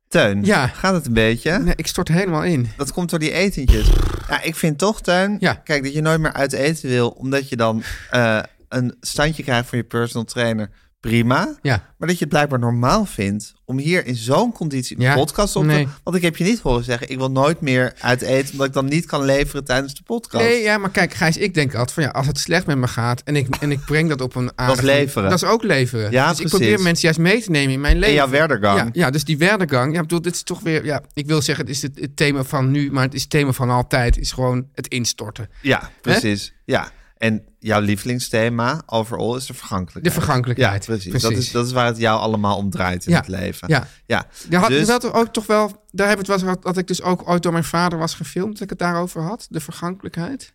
B: Teun,
C: Ja.
B: gaat het een beetje?
C: Nee, ik stort helemaal in.
B: Dat komt door die etentjes. Ja, ik vind toch, Tuin,
C: Ja.
B: kijk, dat je nooit meer uit eten wil, omdat je dan eh, een standje krijgt van je personal trainer. Prima.
C: Ja.
B: Maar dat je het blijkbaar normaal vindt om hier in zo'n conditie een
C: Ja,
B: podcast op te...
C: nee.
B: Want ik heb je niet horen zeggen, ik wil nooit meer uit eten, omdat ik dan niet kan leveren tijdens de podcast.
C: Nee, ja, maar kijk, Gijs, ik denk altijd van ja, als het slecht met me gaat en ik, en ik breng dat op een aardige...
B: leveren.
C: Dat is ook leveren.
B: Ja,
C: dus
B: precies.
C: ik probeer mensen juist mee te nemen in mijn
B: En
C: leven.
B: jouw werdergang.
C: Ja, ja, dus die werdegang. Ja, ik bedoel, dit is toch weer. Ja, ik wil zeggen, het is het, het thema van nu, maar het is het thema van altijd. Is gewoon het instorten.
B: Ja, precies. Ja. En jouw lievelingsthema overal is de
C: De
B: vergankelijkheid. ja,
C: vergankelijkheid.
B: precies. Dat, is, dat is waar het jou allemaal om draait in
C: Ja,
B: het leven.
C: ja.
B: ja.
C: Daar had
B: dus,
C: dat er ook toch wel. Daar hebben we het wel eens gehad dat ik dus ook ooit door mijn vader was gefilmd. Dat ik het daarover had. De vergankelijkheid.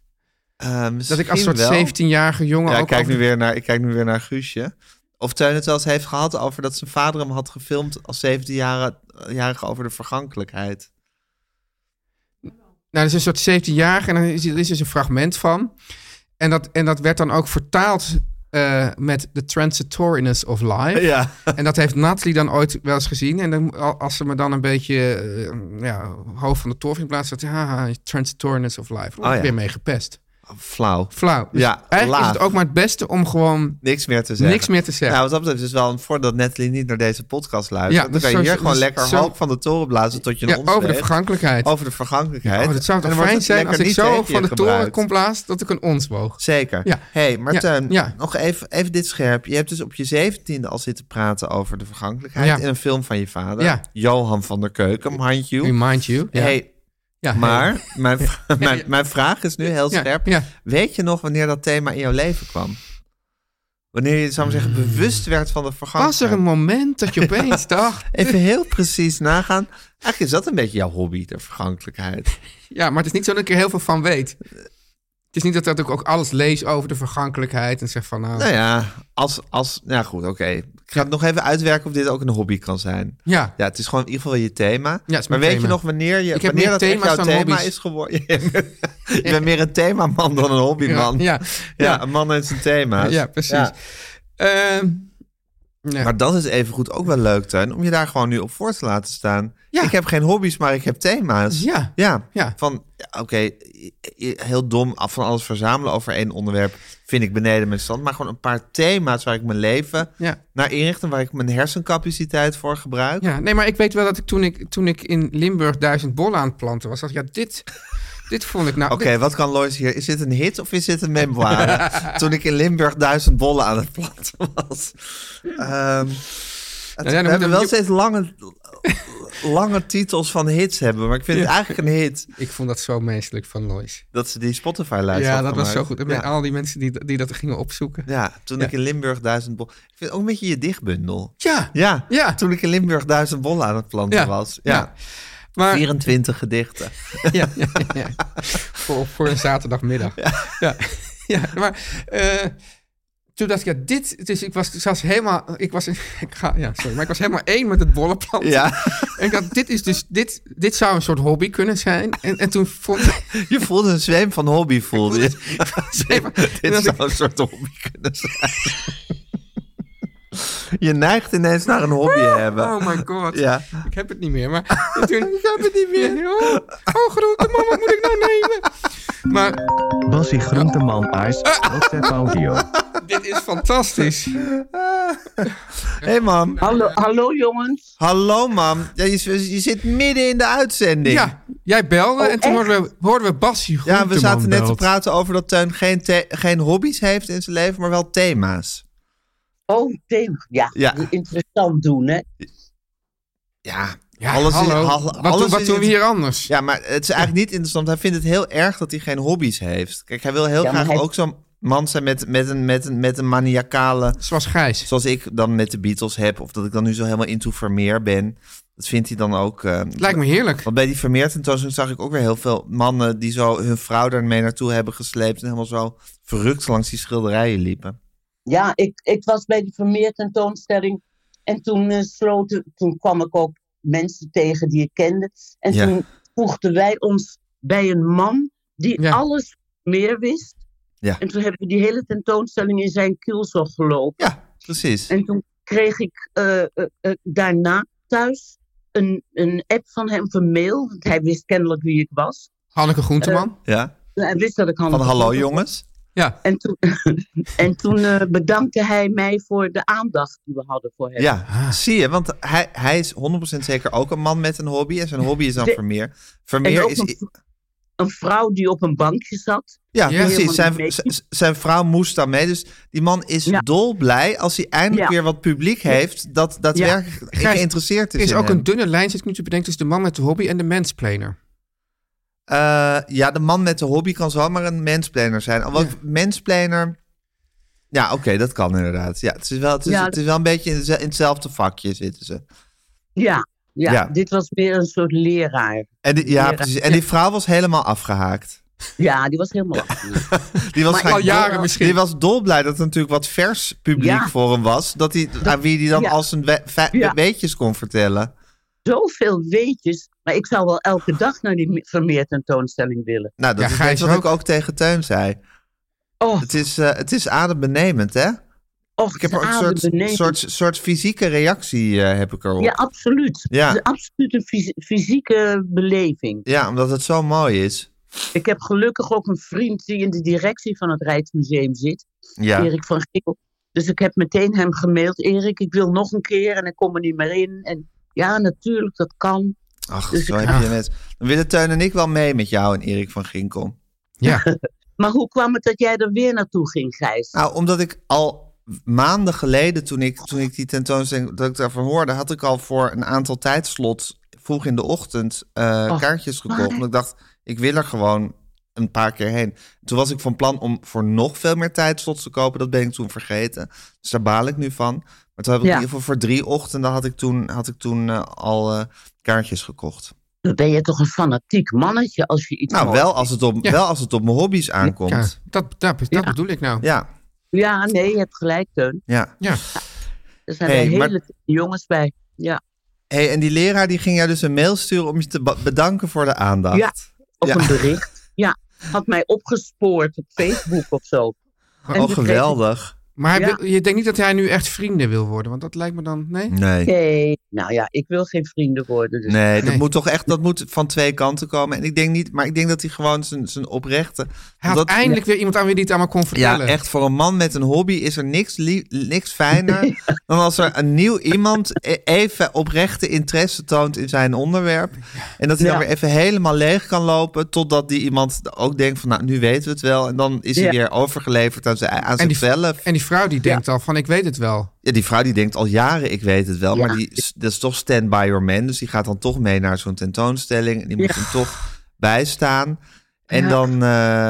B: eh,
C: Dat ik als
B: misschien
C: soort
B: wel.
C: 17-jarige jongen.
B: Ja, ik
C: ook
B: kijk,
C: over-
B: nu weer naar, ik kijk nu weer naar Guusje. Of Teun het wel eens heeft gehad over dat zijn vader hem had gefilmd als 17-jarige over de vergankelijkheid.
C: Nou, dat is een soort 17-jarige en dan is, er is dus een fragment van. En dat, en dat werd dan ook vertaald eh, met The Transitoriness of Life.
B: Ja.
C: En dat heeft Natalie dan ooit wel eens gezien. En dan, al- als ze me dan een beetje eh, ja, hoofd van de torf in plaats zat, haha, transitoriness of life. Dan word
B: Oh,
C: ik
B: ja.
C: weer mee gepest.
B: Flauw.
C: Flauw. Dus
B: Ja,
C: eigenlijk is het
B: laag.
C: ook maar het beste om gewoon
B: Niks meer te zeggen.
C: niks meer te zeggen.
B: Nou, wat dat betreft is wel een voordeel dat Natalie niet naar deze podcast luistert.
C: Ja,
B: dan
C: dus
B: kan je
C: zo-
B: hier
C: dus
B: gewoon lekker
C: zo-
B: hoog van de toren blazen tot je een
C: ja,
B: ons
C: over de
B: heeft.
C: vergankelijkheid.
B: Over de vergankelijkheid.
C: oh, dat zou
B: En
C: toch
B: dan wordt
C: fijn
B: het
C: zijn als
B: lekker
C: ik
B: niet
C: zo
B: tegen
C: hoog
B: je
C: van de toren
B: gebruikt.
C: kon blazen dat ik een ons woog.
B: Zeker.
C: Ja.
B: hey, maar
C: Ja,
B: Teun,
C: ja.
B: nog even, even dit scherp. Je hebt dus op je zeventiende al zitten praten over de vergankelijkheid
C: Ja.
B: in een film van je vader.
C: Ja.
B: Johan van der Keuken, mind you.
C: Remind you. Ja.
B: Hey,
C: Ja,
B: maar Mijn, mijn, mijn vraag is nu heel
C: Ja,
B: scherp.
C: ja.
B: Weet je nog wanneer dat thema in jouw leven kwam? Wanneer je, zou ik maar zeggen, bewust werd van de
C: Was er
B: vergangelijkheid.
C: een moment dat je opeens dacht...
B: Even heel precies nagaan. Eigenlijk is dat een beetje jouw hobby, de vergankelijkheid.
C: Ja, maar het is niet zo dat ik er heel veel van weet. Het is niet dat, dat ik ook alles lees over de vergankelijkheid en zeg van... Nou,
B: Nou ja, als... als nou goed, oké. Ik ga het nog even uitwerken of dit ook een hobby kan zijn.
C: ja.
B: Ja, het is gewoon in ieder geval je thema.
C: Ja, het is
B: maar
C: mijn
B: weet
C: thema.
B: je nog wanneer je
C: Ik heb
B: wanneer
C: meer
B: dat echt
C: thema's
B: jouw
C: dan
B: thema
C: hobby's.
B: is geworden? je bent meer een themaman dan een
C: Ja,
B: hobbyman. Ja,
C: ja, ja.
B: een man heeft zijn thema's.
C: Ja, precies.
B: Ja.
C: Ehm, nee.
B: Maar dat is evengoed ook wel leuk, Tuin, om je daar gewoon nu op voor te laten staan.
C: Ja.
B: Ik heb geen hobby's, maar ik heb thema's.
C: Ja.
B: Ja.
C: Ja.
B: Van, ja, oké, i- i- heel dom af van alles verzamelen over één onderwerp vind ik beneden mijn stand. Maar gewoon een paar thema's waar ik mijn leven
C: Ja.
B: naar inricht en waar ik mijn hersencapaciteit voor gebruik.
C: Ja, nee, maar ik weet wel dat ik toen ik, toen ik in Limburg duizend bollen aan het planten was, dacht ik, ja, dit, dit vond ik nou...
B: Oké, wat kan Lois hier? Is dit een hit of is dit een memoire? Toen ik in Limburg duizend bollen aan het planten was. Ehm, het-
C: dan
B: we
C: moet
B: hebben
C: een
B: wel
C: nieuw-
B: steeds lange, lange titels van hits hebben, maar ik vind het eigenlijk een hit
C: dit- ik vond dat zo menselijk van Lois.
B: dat ze die Spotify-lijst
C: Ja,
B: had
C: dat was zo
B: gemaakt.
C: goed. En met
B: Ja,
C: al die mensen die, die dat gingen opzoeken.
B: ja, toen ik in Limburg duizend bollen... Ik vind ook een beetje je dichtbundel.
C: Ja,
B: Ja,
C: Ja.
B: toen ik in Limburg duizend bollen aan het planten
C: Ja.
B: was.
C: Ja.
B: Ja,
C: maar...
B: 24 gedichten.
C: ja, ja, ja. Voor, voor een zaterdagmiddag. Ja, ja. maar eh, toen dacht ik, ja, dit, dus ik was zelfs helemaal, ik was, ik ga, ja, sorry, maar ik was helemaal één met het bollenplan.
B: Ja,
C: En ik dacht, dit is dus, dit, dit zou een soort hobby kunnen zijn. En, en toen vond ik,
B: je voelde een zweem van hobby, voelde je.
C: En
B: Dit
C: als
B: zou
C: ik-
B: een soort hobby kunnen zijn. Je neigt ineens naar een hobby hebben.
C: oh my god,
B: Ja.
C: ik heb het niet meer. Maar en toen,
B: Ik heb het niet meer.
C: oh, oh grote man, wat moet ik nou nemen? Maar
G: Bassie Groenteman Ice, WhatsApp audio.
C: dit is fantastisch.
B: hey, mam.
H: Hallo, hallo jongens.
B: Hallo, mam. Ja, je, je zit midden in de uitzending.
C: Ja, jij belde en toen hoorden we, hoorden we Bassie
B: Ja, we
C: Groenteman
B: zaten net te
C: belt.
B: praten over dat Teun geen, the- geen hobby's heeft in zijn leven, maar wel thema's.
H: Oh, thema. Ja,
B: Ja.
H: interessant doen, hè?
B: Ja,
C: Ja,
B: alles
C: hallo.
B: is... hal-
C: wat
B: alles
C: doen, wat
B: is
C: doen we
B: in-
C: hier anders?
B: Ja, maar het is eigenlijk niet interessant. Hij vindt het heel erg dat hij geen hobby's heeft. Kijk, hij wil heel
H: Ja, maar
B: graag
H: hij-
B: ook zo'n man zijn met, met, een, met, een, met een maniacale
C: Zoals Gijs.
B: zoals ik dan met de Beatles heb, of dat ik dan nu zo helemaal into Vermeer ben. Dat vindt hij dan ook. eh,
C: Lijkt me heerlijk.
B: Want bij die Vermeer tentoonstelling zag ik ook weer heel veel mannen die zo hun vrouw daarmee naartoe hebben gesleept en helemaal zo verrukt langs die schilderijen liepen.
H: Ja, ik, ik was bij die Vermeer tentoonstelling. En toen, eh, sloten, toen kwam ik ook mensen tegen die ik kende. En
B: Ja.
H: toen voegden wij ons bij een man die
C: Ja.
H: alles meer wist.
B: Ja.
H: En toen hebben we die hele tentoonstelling in zijn kielzog gelopen.
B: Ja, precies.
H: En toen kreeg ik eh, eh, eh, daarna thuis een, een app van hem, of een mail. Want hij wist kennelijk wie ik was.
C: Hanneke
B: Eh,
C: Groenteman.
B: Ja.
H: Hij wist dat ik Hanne
B: Van hallo
H: Groenteman
B: jongens.
C: ja.
H: En toen, en toen eh, bedankte hij mij voor de aandacht die we hadden voor hem.
B: Ja,
C: Ah.
B: zie je, want hij, hij is 100% zeker ook een man met een hobby. En zijn hobby is dan
H: De-
B: Vermeer.
H: en
B: Vermeer
H: ook
B: is.
H: een, v- een vrouw die op een bankje zat.
B: Ja,
C: Ja.
B: precies. Zijn,
H: Helemaal niet
B: z- z- zijn vrouw moest dan mee. Dus die man is
H: Ja.
B: dolblij als hij eindelijk
H: Ja.
B: weer wat publiek heeft dat daadwerkelijk
C: Gijs,
B: geïnteresseerd
C: Er
B: is.
C: is
B: in eh,
C: ook
B: hem.
C: een dunne lijn, zit ik nu te bedenken, tussen de man met de hobby en de mansplainer.
B: Eh, ja, de man met de hobby kan zomaar een mensplanner zijn. Alhoewel
C: Ja.
B: mensplanner... Ja, oké, dat kan inderdaad. Ja, het, is wel, het, is,
H: Ja.
B: het is wel een beetje in, deze- in hetzelfde vakje zitten ze.
H: Ja, ja,
B: Ja.
H: dit was weer een soort leraar.
B: En die, ja,
H: Leraar.
B: precies. En die vrouw was helemaal afgehaakt.
H: Ja, die was helemaal afgeleid.
B: Die was,
H: Maar
B: gewoon
H: al jaren
B: dol-
C: misschien.
B: Die was dolblij dat er natuurlijk wat vers publiek
H: Ja.
B: voor hem was. Dat hij, aan wie hij dan
H: ja.
B: als al zijn we- fe-
H: Ja.
B: weetjes kon vertellen.
H: Zoveel weetjes. Maar ik zou wel elke dag naar die me- Vermeer tentoonstelling willen.
B: Nou, dat
C: Ja,
B: is
C: Gijs
B: net wat
C: ook.
B: ik ook tegen Teun zei.
H: Oh,
B: Het is, eh, het is adembenemend, hè?
H: och,
B: Ik heb er ook een soort, soort, soort fysieke reactie eh, heb ik erop.
H: Ja, absoluut.
B: Ja.
H: Het is absoluut een fys- fysieke beleving.
B: Ja, omdat het zo mooi is.
H: Ik heb gelukkig ook een vriend die in de directie van het Rijksmuseum zit.
B: Ja,
H: Erik van Geel. Dus ik heb meteen hem gemaild. Erik, ik wil nog een keer en ik kom er niet meer in. En ja, natuurlijk, dat kan.
B: ach,
H: Dus
B: zo
H: ik-
B: heb je net. Dan willen Teun en ik wel mee met jou en Erik van Ginkel.
C: Ja,
H: Maar hoe kwam het dat jij er weer naartoe ging, Gijs?
B: Nou, omdat ik al maanden geleden, toen ik, toen ik die tentoonstelling, dat ik daarvan hoorde, had ik al voor een aantal tijdslots vroeg in de ochtend eh, kaartjes gekocht.
H: Oh, waar?
B: Omdat ik dacht, ik wil er gewoon een paar keer heen. Toen was ik van plan om voor nog veel meer tijdslots te kopen. Dat ben ik toen vergeten. Dus daar baal ik nu van. Maar toen heb ik
H: Ja.
B: in ieder geval voor drie ochtenden had ik toen, had ik toen eh, al eh, kaartjes gekocht.
H: Dan ben je toch een fanatiek mannetje als je iets
B: Nou,
H: moois
B: wel als het op,
C: Ja.
B: wel als het op mijn hobby's aankomt.
C: Ja,
B: Ja,
C: dat, dat, dat
H: Ja.
C: bedoel ik nou.
B: ja.
H: vindt. Ja, nee, je hebt gelijk, Teun. Er zijn
B: Hey,
H: wel
B: maar-
H: hele jongens bij. Ja,
B: Hey, en die leraar die ging jou dus een mail sturen om je te ba- bedanken voor de aandacht.
H: Ja. op
B: Ja.
H: een bericht. Ja, had mij opgespoord op Facebook of zo. En
B: Oh,
H: die kreeg-
B: geweldig.
C: Maar hij
H: Ja.
C: wil- je denkt niet dat hij nu echt vrienden wil worden, want dat lijkt me dan... Nee?
B: Nee.
H: Nee, nou ja, ik wil geen vrienden worden. Dus.
B: Nee, dat
C: Nee.
B: moet toch echt dat moet van twee kanten komen. En ik denk niet, maar ik denk dat hij gewoon zijn, zijn oprechte.
C: Hij had
B: dat,
C: eindelijk weer iemand aan wie hij het allemaal kon
B: ja,
C: vertellen.
B: echt voor een man met een hobby is er niks, lie- niks fijner dan als er een nieuw iemand e- even oprechte interesse toont in zijn onderwerp. En dat hij dan
H: Ja.
B: weer even helemaal leeg kan lopen totdat die iemand ook denkt van nou, nu weten we het wel. En dan is hij
H: Ja.
B: weer overgeleverd aan, zijn, aan
C: En die-
B: zichzelf.
C: En die vrouw die denkt al van, ik weet het wel.
B: Ja, die vrouw die denkt al jaren, ik weet het wel,
H: Ja.
B: maar die, s- dat is toch stand by your man. Dus die gaat dan toch mee naar zo'n tentoonstelling. En die moet hem toch bijstaan. En dan, eh,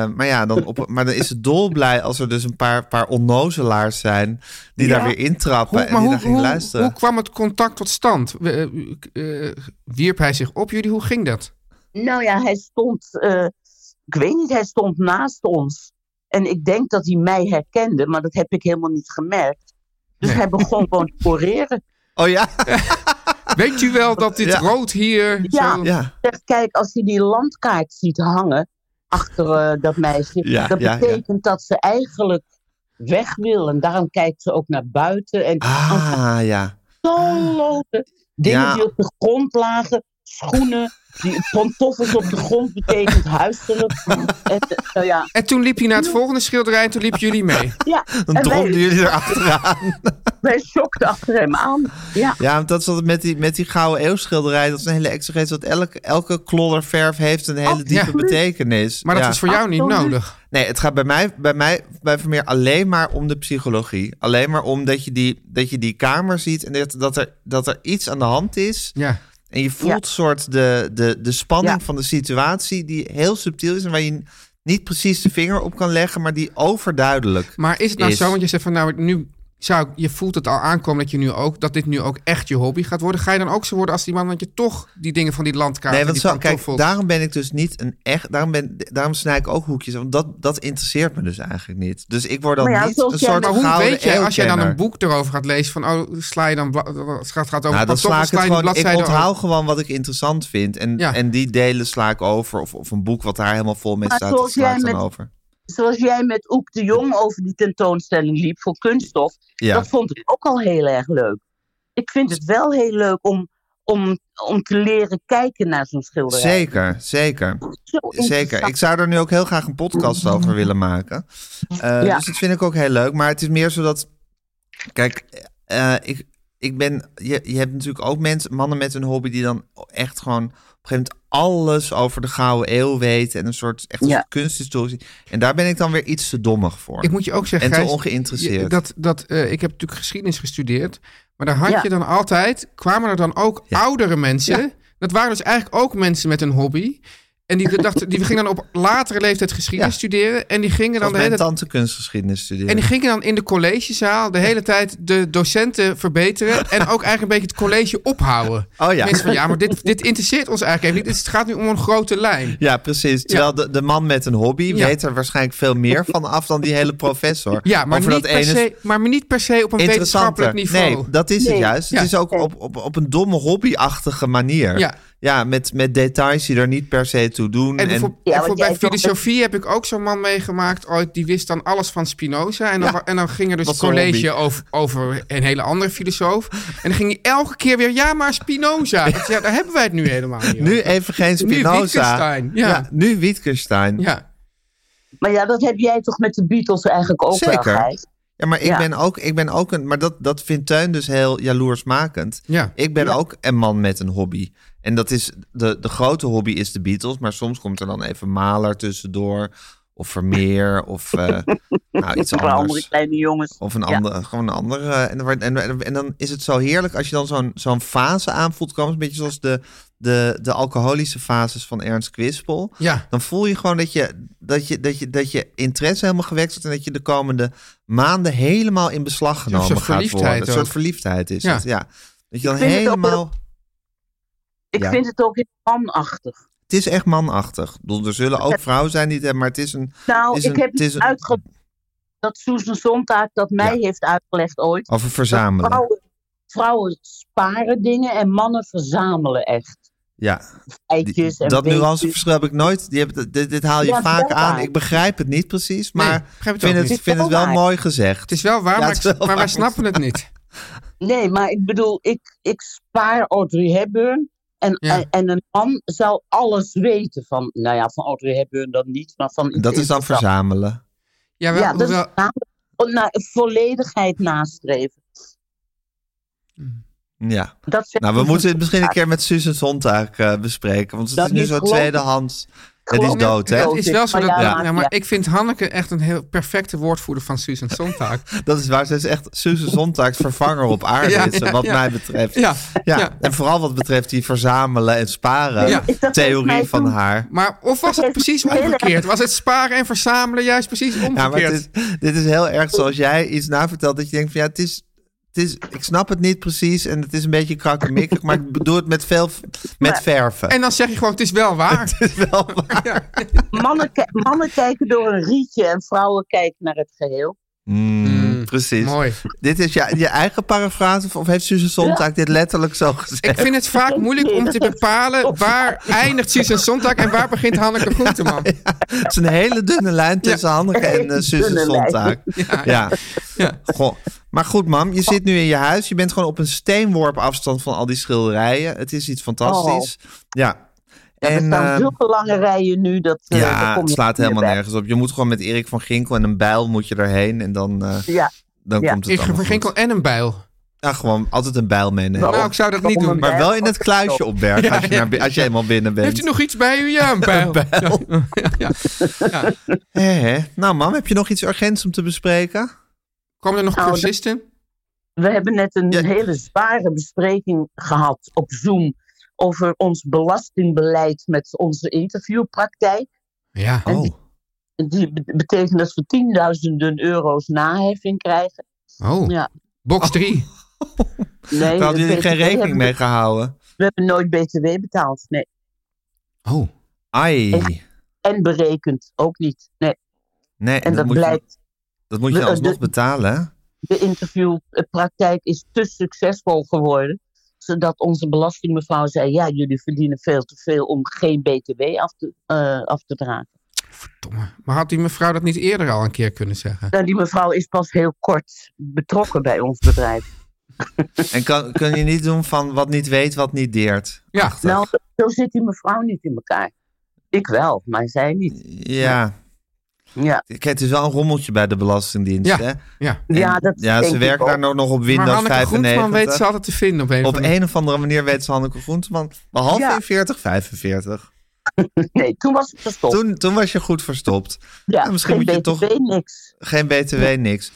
B: maar ja, dan, op, maar dan is ze dolblij als er dus een paar, paar onnozelaars zijn die daar weer intrappen
C: Hoe,
B: en
C: maar
B: die
C: hoe,
B: daar ging
C: hoe,
B: luisteren.
C: hoe kwam het contact tot stand? Eh, eh, eh, wierp hij zich op jullie? Hoe ging dat?
H: Nou ja, hij stond, eh, ik weet niet, hij stond naast ons. En ik denk dat hij mij herkende, maar dat heb ik helemaal niet gemerkt. Dus
C: Nee.
H: hij begon gewoon te correren.
B: Oh ja?
C: Weet u wel dat dit
B: Ja.
C: rood hier...
H: Ja.
C: zo-
B: Ja.
H: Zeg, kijk, als je die landkaart ziet hangen achter eh, dat meisje,
B: Ja,
H: dat
B: ja, ja.
H: betekent dat ze eigenlijk weg wil. En daarom kijkt ze ook naar buiten. En
B: Ah, ja.
H: zo lopen. Dingen
B: Ja.
H: die op de grond lagen, schoenen, die pantoffels op de grond betekent huiselijk. en, eh, nou ja,
C: En toen liep hij naar het volgende schilderij en toen liepen jullie mee.
H: ja.
B: Dan
H: En wij-
B: dromden jullie erachteraan.
H: Wij schokten achter hem aan. Ja,
B: Ja, want dat is altijd met die, met die gouden eeuwschilderij. Dat is een hele exegees. Dat elke, elke klodder verf heeft een hele diepe
C: Absoluut.
B: betekenis.
C: Oh, Maar dat
B: ja.
C: is voor jou niet
H: Absoluut.
C: nodig.
B: Nee, het gaat bij mij, bij mij bij Vermeer alleen maar om de psychologie. Alleen maar om dat je die, dat je die kamer ziet en dat, dat, er, dat er iets aan de hand is.
C: Ja.
B: En je voelt soort de, de, de spanning
H: Ja.
B: van de situatie die heel subtiel is en waar je niet precies de vinger op kan leggen, maar die overduidelijk.
C: Maar is het nou
B: Is-
C: zo, want je zegt van nou, nu zou ik- je voelt het al aankomen dat, je nu ook, dat dit nu ook echt je hobby gaat worden. Ga je dan ook zo worden als die man, want je toch die dingen van die landkaart
B: Nee,
C: en
B: want
C: die
B: zo, kijk,
C: pantoffels-
B: daarom ben ik dus niet een echt. Daarom, ben, daarom snij ik ook hoekjes. Want dat, dat interesseert me dus eigenlijk niet. Dus ik word dan
H: Maar ja,
B: niet
H: zoals
B: een
H: jij-
B: soort.
C: Maar hoe
B: gouden
C: weet jij, als jij dan
B: eeuwkenner.
C: een boek erover gaat lezen, van oh, sla je dan, bla- het gaat gaat over
B: Nou, dan sla
C: pantoffels,
B: ik het
C: sla je die
B: gewoon. Ik
C: bladzijde
B: onthoud
C: over.
B: gewoon wat ik interessant vind. En,
C: Ja.
B: en die delen sla ik over. Of, of een boek wat daar helemaal vol mee
H: Maar
B: staat, dat
H: zoals
B: sla
H: jij
B: ik dan
H: met-
B: over.
H: zoals jij met Oek de Jong over die tentoonstelling liep voor kunststof,
B: Ja.
H: dat vond ik ook al heel erg leuk. Ik vind het wel heel leuk om, om, om te leren kijken naar zo'n schilderij.
B: Zeker, zeker,
H: Zo
B: zeker.
H: interessant.
B: Ik zou er nu ook heel graag een podcast over willen maken. Eh,
H: Ja.
B: Dus dat vind ik ook heel leuk. Maar het is meer zodat... Kijk, eh, ik, ik ben... Je, je hebt natuurlijk ook mensen, mannen met een hobby... die dan echt gewoon op een gegeven moment alles over de Gouden Eeuw weten... en een soort, echt een
H: Ja.
B: soort kunsthistorie. En daar ben ik dan weer iets te dommig voor.
C: Ik moet je ook zeggen,
B: en te
C: Gijs,
B: ongeïnteresseerd.
C: je- dat, dat, eh, ik heb natuurlijk geschiedenis gestudeerd, maar daar had
H: Ja.
C: je dan altijd, kwamen er dan ook oudere mensen, dat waren dus eigenlijk ook mensen met een hobby, en die, dachten, die gingen dan op latere leeftijd geschiedenis
B: Ja.
C: studeren, en die gingen dan
B: Als
C: de hele
B: mijn
C: tijd
B: tante kunstgeschiedenis studeerde.
C: En die gingen dan in de collegezaal de hele tijd de docenten verbeteren. En ook eigenlijk een beetje het college ophouden.
B: Oh ja.
C: Mensen van ja, maar dit, dit interesseert ons eigenlijk even niet. Het gaat nu om een grote lijn.
B: Ja, precies. Terwijl de, de man met een hobby
C: Ja.
B: weet er waarschijnlijk veel meer van af dan die hele professor.
C: Ja, maar,
B: Over
C: niet,
B: dat
C: per
B: ene
C: se, maar niet per se op een
B: interessanter.
C: wetenschappelijk niveau.
B: Nee, dat is het
H: Nee.
B: juist.
C: Ja.
B: Het is ook op, op, op een domme hobbyachtige manier.
C: Ja.
B: ja met, met details die er niet per se toe doen.
C: En
B: En,
C: bijvoorbeeld,
H: Ja, want
C: bijvoorbeeld
H: jij
C: bij
H: zag dat-
C: filosofie heb ik ook zo'n man meegemaakt ooit. Die wist dan alles van Spinoza. En dan, wa- en dan ging er dus
B: was
C: het
B: een
C: college over, over een hele andere filosoof. En dan ging hij elke keer weer, ja, maar Spinoza. Ik zei, Ja, daar hebben wij het nu helemaal niet
B: nu
C: over.
B: even geen Spinoza.
C: Wittgenstein, ja.
B: nu Wittgenstein. Ja.
C: Ja.
H: Maar ja, dat heb jij toch met de Beatles eigenlijk ook
B: Zeker.
H: wel, Gijs?
B: maar ik,
H: Ja.
B: Ben ook, ik ben ook een. Maar dat, dat vindt Teun dus heel jaloersmakend.
C: Ja.
B: Ik ben ook een man met een hobby. En dat is de, de grote hobby is de Beatles, maar soms komt er dan even Maler tussendoor. Of Vermeer. Of eh, nou, iets
H: Een paar andere
B: anders.
H: kleine jongens.
B: Of een
H: Ja.
B: andere, gewoon een andere. eh, En, dan wordt- en, en, en dan is het zo heerlijk als je dan zo'n zo'n fase aanvoelt komen. Een beetje zoals de, de, de alcoholische fases van Ernst Kwispel.
C: Ja.
B: Dan voel je gewoon dat je, dat, je, dat, je, dat je interesse helemaal gewekt wordt. En dat je de komende maanden helemaal in beslag
C: soort
B: genomen gaat worden.
C: verliefdheid
B: Een soort
C: ook.
B: verliefdheid is
C: Ja.
B: het, ja. Dat je dan
H: vind het ook wel-
B: helemaal...
H: Ik
B: Ja.
H: vind het ook heel manachtig.
B: Het is echt manachtig. Ik bedoel, Er zullen ook vrouwen zijn die het hebben, maar het is een...
H: Nou,
B: is
H: ik
B: een-
H: heb
B: het is
H: iets
B: een-
H: uitge... dat Susan Sontag dat mij
B: Ja.
H: heeft uitgelegd ooit.
B: Over
H: Dat
B: verzamelen.
H: Vrouwen, vrouwen sparen dingen en mannen verzamelen echt.
B: Ja, Die-
H: Eitjes en
B: dat
H: beestjes.
B: nuanceverschil heb ik nooit. Die heb, dit- dit, dit haal je
H: Ja,
B: vaak
H: wel
B: aan.
H: waar.
B: Ik begrijp het niet precies,
C: Nee,
B: maar
C: begrijp
B: ik
C: ook
B: vind
C: niet.
B: het,
H: Het is
B: vind het
H: wel
B: wel
H: waar.
B: mooi gezegd.
C: Het is wel waar,
B: Ja,
C: maar,
B: het is
C: ik-
B: wel
C: maar wij
B: waar.
C: snappen het niet.
H: Nee, maar ik bedoel, ik, ik spaar Audrey Hepburn. En,
C: Ja.
H: en een man zou alles weten van, nou ja, van Audrey Hepburn dan niet, maar van iets
B: Dat is dan
H: interessants.
B: verzamelen.
C: Ja, wel,
H: Ja, dat is
C: hoewel-
H: namelijk na- volledigheid nastreven.
B: Ja.
H: Dat zegt
B: Nou, we
H: dus
B: moeten het
H: een-
B: misschien een keer met Susan Sontag eh, bespreken. Want het
H: Dat
B: is nu
H: niet
B: zo
H: geloof ik.
B: tweedehands. Het is
H: Geloof ik.
B: dood, hè?
H: Ja.
C: Het is wel zo
H: Maar
C: dat.
H: ja,
C: Ja,
H: maar-
C: maar
H: ja.
C: ik vind Hanneke echt een heel perfecte woordvoerder van Susan Sontag.
B: Dat is waar. Ze is echt Susan Sontag's vervanger op aarde,
C: Ja,
B: is, wat
C: ja.
B: mij betreft.
C: Ja,
B: Ja,
C: ja.
B: En vooral wat betreft die verzamelen en sparen
C: Ja.
H: Is dat volgens
B: theorie
H: mij
B: van
H: toen-
B: haar.
C: Maar of was het precies omgekeerd? Was het sparen en verzamelen juist precies
B: Ja, maar
C: omgekeerd?
B: het is, dit is heel erg zoals jij iets navertelt dat je denkt van ja, het is, het is, ik snap het niet precies en het is een beetje krakkemikkig, maar ik bedoel het met veel, met verven.
C: En dan zeg je gewoon, het is wel waar.
B: Het is wel waar.
C: Ja.
H: Mannen, ki- mannen kijken door een rietje en vrouwen kijken naar het geheel.
B: Mm, precies.
C: Mooi.
B: Dit is je, je eigen parafrase of, of heeft Suze Sontag dit letterlijk zo gezegd?
C: Ik vind het vaak moeilijk om te bepalen waar eindigt Susan Sontag en waar begint Hanneke Groenteman.
B: Het is een hele dunne lijn tussen Hanneke en uh, Suze
H: Dunne
B: Sontag. Ja.
C: Ja, Ja.
B: Goh. Maar goed, mam, je zit nu in je huis. Je bent gewoon op een steenworp afstand van al die schilderijen. Het is iets fantastisch.
C: Oh.
B: Ja.
H: er staan
B: ehm,
H: zulke lange rijen nu dat. eh, daar
B: Ja,
H: kom
B: het
H: je
B: slaat
H: niet
B: helemaal
H: meer
B: nergens op. Je moet gewoon met Erik van Ginkel en een bijl moet je erheen. En dan, eh,
H: bij. Ja,
B: dan
H: Ja.
B: komt het
C: Ik
B: allemaal
C: van Ginkel
B: goed.
C: en een bijl.
B: Ja, gewoon altijd een bijl meenemen.
C: Nou, ik zou dat niet
H: Waarom
C: doen.
H: een
B: maar wel in het kluisje opbergen als, je
C: Ja, ja.
B: naar bi- als je helemaal binnen bent.
C: Heeft u nog iets bij u? Ja, een bijl.
B: bijl.
C: Ja, ja, ja.
B: Hé, hé. Nou mam, heb je nog iets urgents om te bespreken?
C: Komen er nog
H: Nou, dat-
C: cursisten?
H: we hebben net een
B: Ja.
H: hele zware bespreking gehad op Zoom over ons belastingbeleid met onze interviewpraktijk.
C: Ja.
B: Oh.
H: En die- Die be- betekent dat we tienduizenden euro's naheffing krijgen.
C: Oh.
H: Ja.
C: Box 3.
H: Nee,
B: Daar
H: dat
B: hadden jullie geen
H: BTW
B: rekening
H: hebben
B: mee gehouden.
H: We, we hebben nooit BTW betaald. Nee.
C: Oh.
B: Ai.
H: En berekend ook niet. Nee.
B: Nee,
H: En
B: dat,
H: dat
B: moet je,
H: blijkt,
B: dat moet je
H: Eh,
B: alsnog
H: de-
B: betalen. hè?
H: de interviewpraktijk is te succesvol geworden. Zodat onze belastingmevrouw zei: Ja, jullie verdienen veel te veel om geen BTW af te, eh, af te dragen.
C: Verdomme. Maar had die mevrouw dat niet eerder al een keer kunnen zeggen?
H: Nou, die mevrouw is pas heel kort betrokken bij ons bedrijf.
B: En kan, kun je niet doen van wat niet weet, wat niet deert.
C: Ja.
H: Nou, zo zit die mevrouw niet in elkaar. Ik wel, maar zij niet.
B: Ja.
H: Ja,
B: Kijk, het is wel een rommeltje bij de Belastingdienst.
C: Ja.
B: Hè?
C: ja.
B: En-
H: ja dat
B: ja
H: denk
B: ze
H: ik
B: werken
H: ook.
B: daar nou nog, nog op
C: Maar
B: Windows
C: Hanneke
B: 95.
C: Groenteman weet ze altijd te vinden op een
B: op
C: of andere
B: een of andere manier weet ze Hanneke Groenteman. Behalve
H: Ja.
B: in 40, 45.
H: Nee, toen was het gestopt.
B: Toen, toen was je goed verstopt.
H: ja,
B: nou, misschien
H: geen
B: moet je
H: BTW,
B: toch-
H: niks.
B: Geen BTW, niks.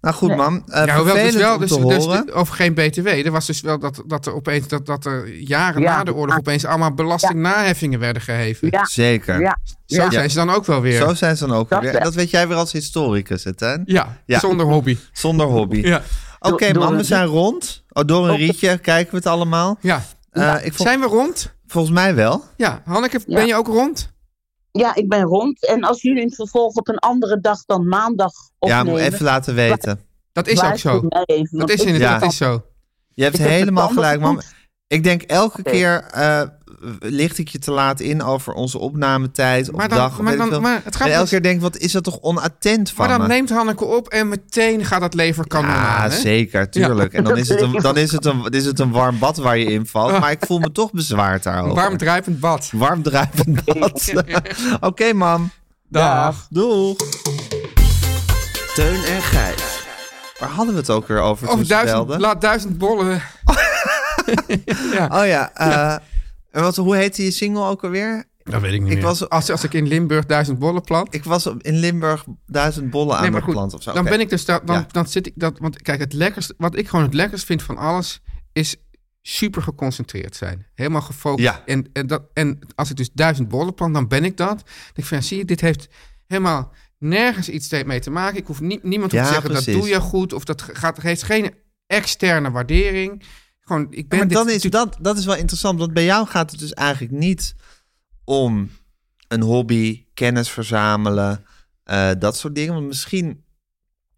B: Nou goed,
H: Nee.
B: mam. Eh
C: ja, hoewel dus
B: vervelend
C: wel,
B: om
C: dus,
B: te
C: dus
B: horen.
C: de- over geen BTW. Er was dus wel dat, dat er opeens, dat, dat er jaren
H: Ja.
C: na de oorlog opeens allemaal belastingnaheffingen werden geheven.
H: Ja,
B: Zeker.
H: ja.
C: Zo
H: Ja.
C: zijn ze dan ook wel weer.
B: Zo zijn ze dan ook
H: Dat
B: weer.
H: wel.
B: Dat weet jij weer als historicus, hè, Tijn?
C: ja,
B: Ja.
C: zonder hobby.
B: Zonder hobby.
C: Ja.
B: Oké,
H: Door- door
B: mam, we
H: een-
B: zijn rond. Oh, door een rietje kijken we het allemaal.
C: Ja. Nou,
B: Eh, ik vond,
C: Zijn we rond?
B: Volgens mij wel.
C: Ja. Hanneke,
H: Ja.
C: ben je ook rond?
H: Ja, ik ben rond. En als jullie in het vervolg op een andere dag dan maandag
B: Ja,
H: opnemen...
B: moet even laten weten.
C: Dat is ook zo.
H: waarschuw mij
C: Dat
H: even, want
C: is
H: ik-
C: inderdaad
B: Ja.
C: dat is zo.
B: Je hebt
H: ik heb
B: helemaal
H: het plan
B: gelijk,
H: dat
B: mam.
H: het moet.
B: Ik denk elke
H: Oké.
B: keer eh, licht ik je te laat in over onze opnametijd of
C: Maar dan-
B: dag. of
C: maar
B: weet ik
C: dan-
B: veel.
C: maar het gaat
B: en elke
C: dus-
B: keer denk ik, wat is dat toch onattent van
C: Maar dan
B: me?
C: neemt Hanneke op en meteen gaat dat leverkanon
B: ja,
C: aan. Hè?
B: zeker, tuurlijk. En dan is, het een, dan, is het een, is het een warm bad waar je in valt. Maar ik voel me toch bezwaard
C: Een
B: daarover.
C: warm druipend bad.
B: warm druipend bad. Oké, mam.
C: Dag.
B: Doeg.
D: Teun en Gijs.
B: Waar hadden we het ook weer over toen
C: Of
B: ze
C: duizend,
B: belden?
C: laat duizend bollen. ja.
B: Oh ja. eh, en wat, hoe heette je single ook alweer?
C: Dat weet ik niet
B: Ik
C: meer.
B: was-
C: als, als ik in Limburg duizend bollen plant...
B: Ik was op- in Limburg duizend bollen aan
C: nee,
B: het
C: maar goed,
B: plant of zo.
C: dan
B: Oké.
C: ben ik dus... da- dan,
B: Ja.
C: dan zit ik dat... Want kijk, het lekkerst, wat ik gewoon het lekkerst vind van alles... is super geconcentreerd zijn. Helemaal gefocust.
B: Ja.
C: En, en, dat, en als ik dus duizend bollen plant, dan ben ik dat. Dan denk ik van, ja, zie je, dit heeft helemaal nergens iets te- mee te maken. Ik hoef nie- niemand hoeft
B: Ja,
C: te zeggen,
B: precies.
C: dat doe je goed. Of dat gaat, heeft geen externe waardering. Gewoon, ik ben
B: Maar
C: dit
B: dan is
C: natuurlijk-
B: dat, dat is wel interessant, want bij jou gaat het dus eigenlijk niet om een hobby, kennis verzamelen, eh, dat soort dingen. Want misschien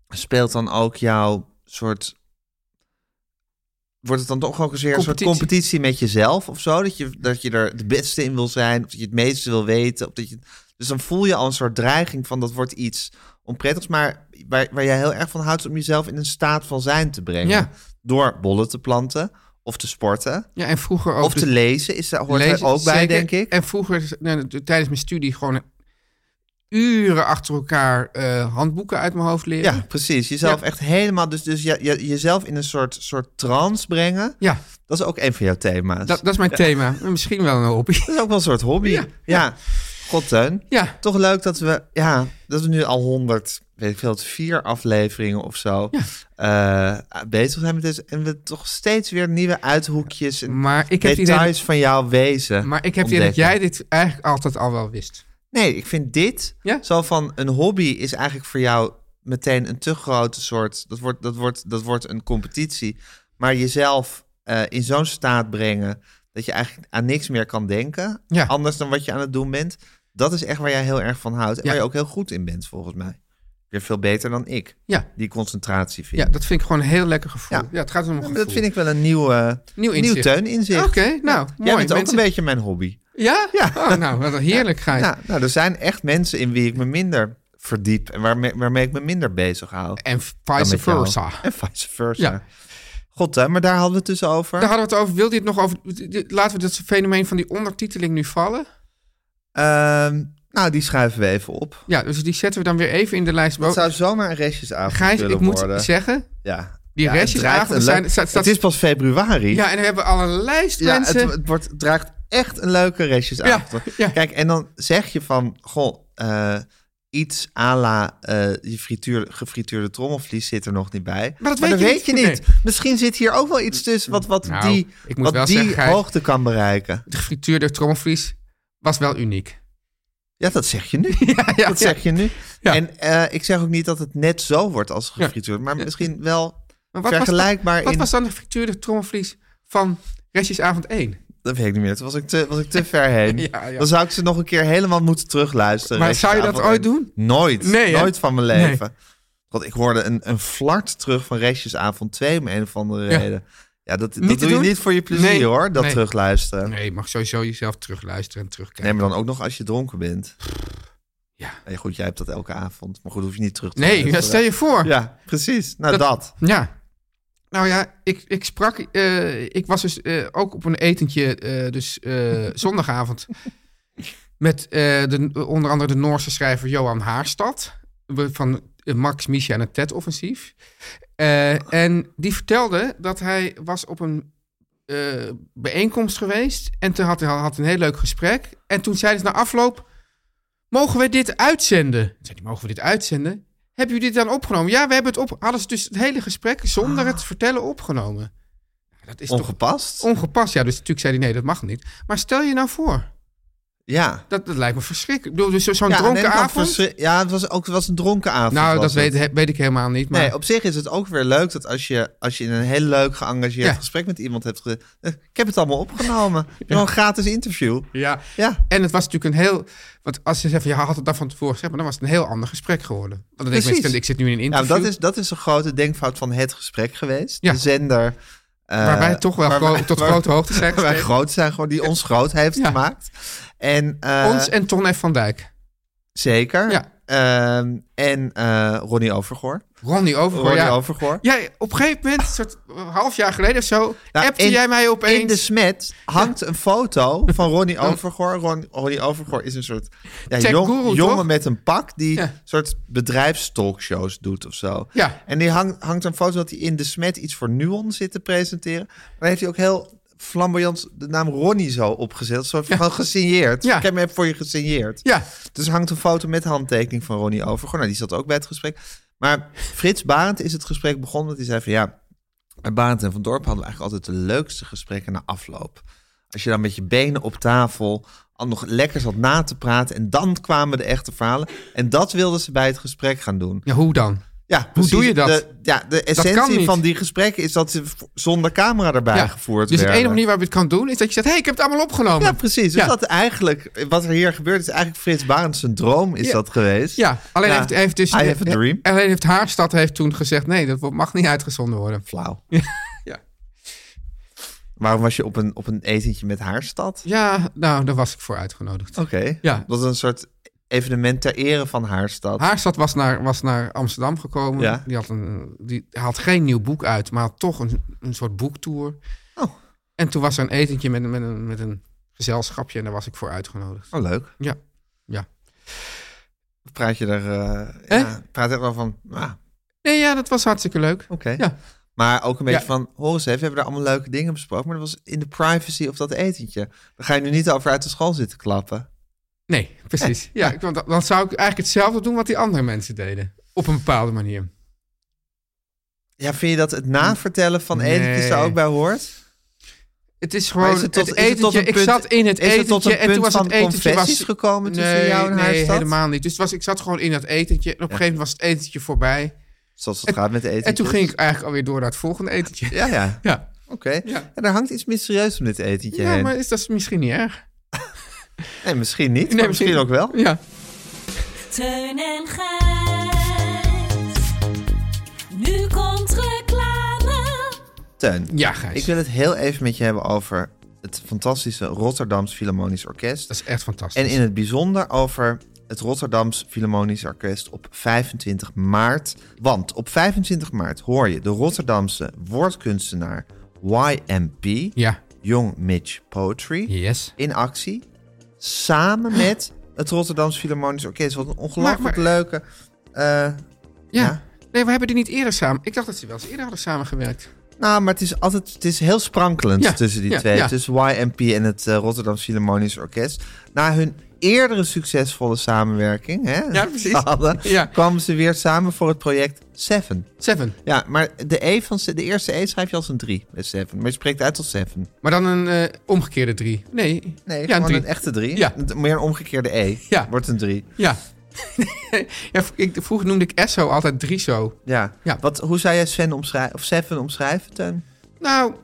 B: speelt dan ook jouw soort. Wordt het dan toch ook eens weer een soort
C: Competitie.
B: competitie met jezelf of zo? Dat je, dat je er de beste in wil zijn, of dat je het meeste wil weten. Of dat je, dus dan voel je al een soort dreiging van dat wordt iets onprettigs, maar waar, waar jij heel erg van houdt om jezelf in een staat van zijn te brengen.
C: Ja.
B: Door bollen te planten of te sporten.
C: Ja, en vroeger ook...
B: Of
C: dus-
B: te lezen is, daar- hoort
C: Lezen,
B: er ook bij,
C: zeker.
B: denk ik.
C: En vroeger, nou, t- tijdens mijn studie, gewoon uren achter elkaar eh, handboeken uit mijn hoofd leren.
B: Ja, precies. Jezelf
C: Ja.
B: echt helemaal, dus, dus je, je- jezelf in een soort, soort trance brengen.
C: Ja,
B: Dat is ook een van jouw thema's.
C: dat, dat is mijn thema. Misschien wel een hobby.
B: Dat is ook wel een soort hobby. Ja.
C: Ja,
B: God, Teun.
C: Ja,
B: Toch leuk dat we, ja, dat we nu al honderd, weet ik veel, vier afleveringen of zo eh, bezig zijn met deze. En we toch steeds weer nieuwe uithoekjes en
C: maar ik heb het idee,
B: details van jouw wezen
C: maar ik heb het idee dat
B: ontdekken.
C: jij dit eigenlijk altijd al wel wist.
B: Nee, ik vind dit
C: Ja?
B: zo van een hobby is eigenlijk voor jou meteen een te grote soort. Dat wordt, dat wordt, dat wordt een competitie. Maar jezelf eh, in zo'n staat brengen dat je eigenlijk aan niks meer kan denken.
C: Ja.
B: Anders dan wat je aan het doen bent. Dat is echt waar jij heel erg van houdt. En
C: Ja.
B: waar je ook heel goed in bent, volgens mij. Weer veel beter dan ik.
C: Ja.
B: Die concentratie vind.
C: Ja, dat vind ik gewoon een heel lekker gevoel.
B: Ja.
C: Ja, het gaat om een gevoel.
B: Dat vind ik wel een nieuw, eh, nieuw
C: Nieuw inzicht.
B: teuninzicht.
C: Oké, nou, mooi.
B: Jij bent ook
C: Mensen-
B: een beetje mijn hobby.
C: Ja?
B: Ja.
C: Oh, nou, wat een heerlijkheid.
B: Ja, nou, er zijn echt mensen in wie ik me minder verdiep en waarmee, waarmee ik me minder bezig hou.
C: En
B: Dan
C: vice
B: met jou.
C: versa.
B: En vice versa.
C: Ja.
B: God, hè, maar daar hadden we het dus over.
C: Daar hadden we het over. Wilde je het nog over... Laten we dat fenomeen van die ondertiteling nu vallen.
B: Ehm, nou, die schuiven we even op.
C: Ja, dus die zetten we dan weer even in de lijst
B: Het
C: boven.
B: zou zomaar een restjesavond
C: Oh. Gijs,
B: kunnen
C: ik moet
B: worden.
C: zeggen...
B: ja.
C: die
B: ja, het
C: restjesavonden
B: dreigt een
C: zijn-
B: leuk-
C: staat- staat-
B: Het is pas februari.
C: Ja, en we hebben al een lijst
B: Ja, het,
C: mensen.
B: het wordt, het draagt echt een leuke restjesavond.
C: Ja, ja.
B: Kijk, en dan zeg je van... Goh, eh, iets à la eh, je frituur, gefrituurde trommelvlies zit er nog niet bij.
C: Maar dat
B: dan
C: weet je
B: weet je
C: niet.
B: niet.
C: Nee.
B: Misschien zit hier ook wel iets tussen wat, wat
C: Nou,
B: die,
C: ik moet wel
B: wat die
C: zeggen, Gijs-
B: hoogte kan bereiken.
C: De gefrituurde trommelvlies was wel uniek.
B: Ja, dat zeg je nu.
C: ja,
B: dat
C: ja.
B: zeg je nu.
C: Ja.
B: En eh, ik zeg ook niet dat het net zo wordt als gefrituurd, maar misschien wel
C: Maar
B: vergelijkbaar
C: Was, dat- wat
B: in...
C: was dan de gefrituurde trommelvlies van restjesavond 1?
B: Dat weet ik niet meer. Toen was ik te, was ik te ver heen.
C: Ja, ja.
B: Dan zou ik ze nog een keer helemaal moeten terugluisteren.
C: Maar zou je dat
B: Restjesavond.
C: ooit doen?
B: Nooit.
C: Nee, hè?
B: Nooit van mijn
C: Nee.
B: leven. Want ik hoorde een, een flart terug van Restjesavond 2 om een of andere
C: Ja.
B: reden. Ja, dat, dat
C: Niet te
B: doe je
C: doen?
B: niet voor je plezier
C: Nee.
B: hoor, dat
C: Nee.
B: terugluisteren.
C: Nee, je mag sowieso jezelf terugluisteren en terugkijken.
B: Nee, maar dan ook nog als je dronken bent.
C: Ja.
B: Nee, goed, jij hebt dat elke avond. Maar goed, hoef je niet terug te
C: Nee, ja,
B: luisteren.
C: stel je voor. Ja.
B: Ja, precies. Nou,
C: Dat-
B: dat.
C: Nou ja, ik, ik sprak... eh, ik was dus eh, ook op een etentje, eh, dus eh, zondagavond... met eh, de, onder andere de Noorse schrijver Johan Haarstad... van eh, Max Misha en het TED-offensief. Eh, en die vertelde dat hij was op een eh, bijeenkomst geweest. En toen had hij had een heel leuk gesprek. En toen zeiden ze na afloop, mogen we dit uitzenden? Toen zei hij, mogen we dit uitzenden? Hebben jullie dit dan opgenomen? Ja, we hebben het op. Hadden ze dus het hele gesprek zonder het vertellen opgenomen. Dat is toch
B: Ongepast?
C: ongepast? Ja, dus natuurlijk zei hij, nee, dat mag niet. Maar stel je nou voor,
B: Ja.
C: dat, dat lijkt me verschrikkelijk. Ik bedoel, dus zo- zo'n
B: ja, aan de
C: dronken
B: ene kant
C: avond...
B: verschri- Ja, het was ook het was een dronken avond.
C: nou,
B: was
C: dat
B: het.
C: weet, he- weet ik helemaal niet. Maar
B: Nee, op zich is het ook weer leuk dat als je, als je in een heel leuk geëngageerd
C: Ja.
B: gesprek met iemand hebt... Ge... Eh, Ik heb het allemaal opgenomen. Gewoon een gratis interview.
C: ja.
B: Ja, Nou,
C: En het was natuurlijk een heel... Want als je zegt, van, ja, had het dan van tevoren gezegd... maar dan was het een heel ander gesprek geworden. Want dan denk
B: Precies.
C: ik, mensen, ik zit nu in een
B: ja
C: interview...
B: dat, is, dat is een grote denkfout van het gesprek geweest.
C: Ja.
B: De zender... eh,
C: waar wij toch wel
B: waar
C: gro-
B: wij-
C: tot
B: waar-
C: grote hoogte zijn
B: Wij
C: gestegen.
B: groot zijn gewoon, die ons groot heeft
C: Ja.
B: gemaakt. En, eh,
C: Ons en Ton F. van Dijk.
B: Zeker.
C: Ja.
B: Ehm, en eh, Ronnie Overgoor.
C: Ronnie Overgoor.
B: Ronnie
C: Oh, Ja.
B: Overgoor.
C: ja, op een gegeven moment, een soort eh, half jaar geleden of zo...
B: Nou,
C: appte
B: in-
C: jij mij opeens...
B: In de smet hangt een foto van Ronnie Overgoor. Ron- Ronnie Overgoor is een soort ja,
C: Tech
B: jong-
C: guru,
B: jongen
C: toch?
B: met een pak die
C: Ja.
B: een soort bedrijfstalkshows doet of zo.
C: Ja.
B: En die hang- hangt een foto dat hij in de smet iets voor Nuon zit te presenteren. Maar dan heeft hij ook heel flamboyant de naam Ronnie zo opgezet. Zo van gesigneerd.
C: Ja.
B: Ik heb hem voor je gesigneerd.
C: Ja,
B: Dus er hangt een foto met handtekening van Ronnie over. Gewoon, nou, die zat ook bij het gesprek. Maar Frits Barend is het gesprek begonnen. Want die zei van ja, bij Barend en Van Dorp hadden we eigenlijk altijd de leukste gesprekken na afloop. Als je dan met je benen op tafel al nog lekker zat na te praten. En dan kwamen de echte verhalen. En dat wilden ze bij het gesprek gaan doen.
C: ja hoe dan?
B: Ja, precies.
C: doe je dat?
B: De, ja, de
C: kan
B: essentie
C: niet.
B: van die gesprekken is dat ze v- zonder camera erbij
C: ja.
B: gevoerd
C: dus de
B: werden.
C: enige manier waarop je het kan doen is dat je zegt: hé, hey, ik heb het allemaal opgenomen.
B: Ja, precies. Dus
C: Ja.
B: dat eigenlijk, wat er hier gebeurt, is eigenlijk Frits Barend zijn droom is
C: Ja.
B: dat geweest.
C: Ja, alleen heeft, heeft dus.
B: I have a dream.
C: Alleen heeft Haarstad heeft toen gezegd: nee, dat wo- mag niet uitgezonden worden.
B: Flauw.
C: Ja.
B: Waarom was je op een, op een etentje met haar stad?
C: Ja, nou, daar was ik voor uitgenodigd.
B: Oké.
C: Ja.
B: Dat is een soort evenement ter ere van haar stad.
C: Haarstad was naar, was naar Amsterdam gekomen.
B: Ja.
C: Die, had een, die had geen nieuw boek uit, maar had toch een, een soort boektour.
B: Oh.
C: En toen was er een etentje met, een- met, een, met een gezelschapje en daar was ik voor uitgenodigd.
B: Oh, leuk.
C: Ja. Ja.
B: Praat je daar... eh
C: Eh?
B: ja, praat er wel van... Ah,
C: Nee, ja, dat was hartstikke leuk.
B: Oké.
C: Ja.
B: Maar ook een beetje
C: Ja.
B: van, hoor eens even, we hebben daar allemaal leuke dingen besproken, maar dat was in de privacy of dat etentje. Daar ga je nu niet over uit de school zitten klappen.
C: Nee,
B: Eh.
C: precies. Ja, ik- want dan- dan zou ik eigenlijk hetzelfde doen wat die andere mensen deden. Op een bepaalde manier.
B: Ja, vind je dat het navertellen van
C: Nee.
B: etentjes daar ook bij hoort?
C: Het is
B: Maar
C: gewoon
B: is het tot-
C: het
B: is het tot
C: etentje.
B: een
C: ik
B: punt-
C: zat in het
B: is
C: etentje
B: het tot een
C: en toen
B: punt
C: was het
B: van
C: etentje
B: confessies
C: was
B: gekomen tussen
C: nee,
B: jou en
C: nee,
B: haar stad?
C: helemaal niet. Dus was, ik zat gewoon in dat etentje en op een gegeven moment was het etentje voorbij.
B: Zoals het
C: En-
B: gaat met etentjes.
C: En toen ging ik eigenlijk alweer door naar het volgende etentje.
B: Ja, ja.
C: Ja.
B: Oké.
C: Ja.
B: En daar hangt iets mysterieus om dit etentje
C: Ja,
B: heen.
C: maar is dat is misschien niet erg?
B: Nee, misschien niet. maar misschien ook wel.
C: Ja.
F: Teun en Gijs. Nu komt reclame.
B: Teun,
C: Ja, Gijs.
B: ik wil het heel even met je hebben over het fantastische Rotterdams Philharmonisch Orkest.
C: Dat is echt fantastisch.
B: En in het bijzonder over het Rotterdams Philharmonisch Orkest op 25 maart. Want op 25 maart hoor je de Rotterdamse woordkunstenaar YMP,
C: Ja.
B: Young Mitch Poetry,
C: Yes.
B: in actie. Samen met het Rotterdams Philharmonisch Orkest. Wat een ongelooflijk
C: Maar-
B: leuke... eh,
C: Ja.
B: Ja.
C: Nee, we hebben die niet eerder samen. Ik dacht dat ze wel eens eerder hadden samengewerkt.
B: Nou, maar het is altijd het is heel sprankelend
C: Ja,
B: tussen die
C: ja,
B: twee.
C: ja.
B: Tussen YMP en het eh, Rotterdam Philharmonisch Orkest. Na hun eerdere succesvolle samenwerking hè,
C: Ja, precies.
B: hadden,
C: Ja.
B: kwamen ze weer samen voor het project Seven.
C: Seven.
B: Ja, maar de, e van, se- de eerste E schrijf je als een 3 bij Seven. Maar je spreekt uit als Seven.
C: Maar dan een eh, omgekeerde drie. Nee.
B: Nee,
C: ja,
B: gewoon
C: drie.
B: een echte 3.
C: Ja.
B: Meer een omgekeerde E.
C: Ja.
B: Wordt een 3.
C: Ja. ja v- ik, vroeger noemde ik Esso altijd Driso.
B: Ja.
C: Ja.
B: Wat, hoe zou jij Sven omschrijven, of Seven omschrijven, Teun?
C: Nou,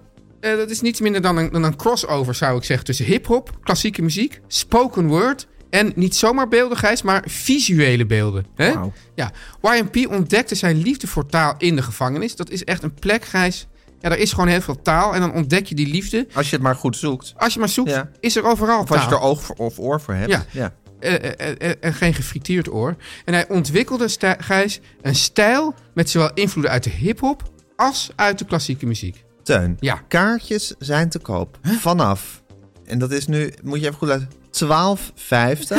C: eh, dat is niets minder dan een, dan een crossover, zou ik zeggen. Tussen hip-hop, klassieke muziek, spoken word. En niet zomaar beeldigheid, maar visuele beelden. Hè?
B: Wauw.
C: Ja. YMP ontdekte zijn liefde voor taal in de gevangenis. Dat is echt een plek, Gijs. Ja, er is gewoon heel veel taal. En dan ontdek je die liefde.
B: Als je het maar goed zoekt.
C: Als je maar zoekt,
B: Ja.
C: is er overal
B: Of als je
C: taal.
B: er oog voor, of oor voor hebt.
C: Nou. Ja.
B: ja.
C: Eh, eh, eh, eh, en geen gefrituurd oor. En hij ontwikkelde, stij- Gijs, een stijl met zowel invloeden uit de hip-hop als uit de klassieke muziek.
B: Teun,
C: Ja.
B: kaartjes zijn te koop vanaf. En dat is nu, moet je even goed luisteren, 12,50.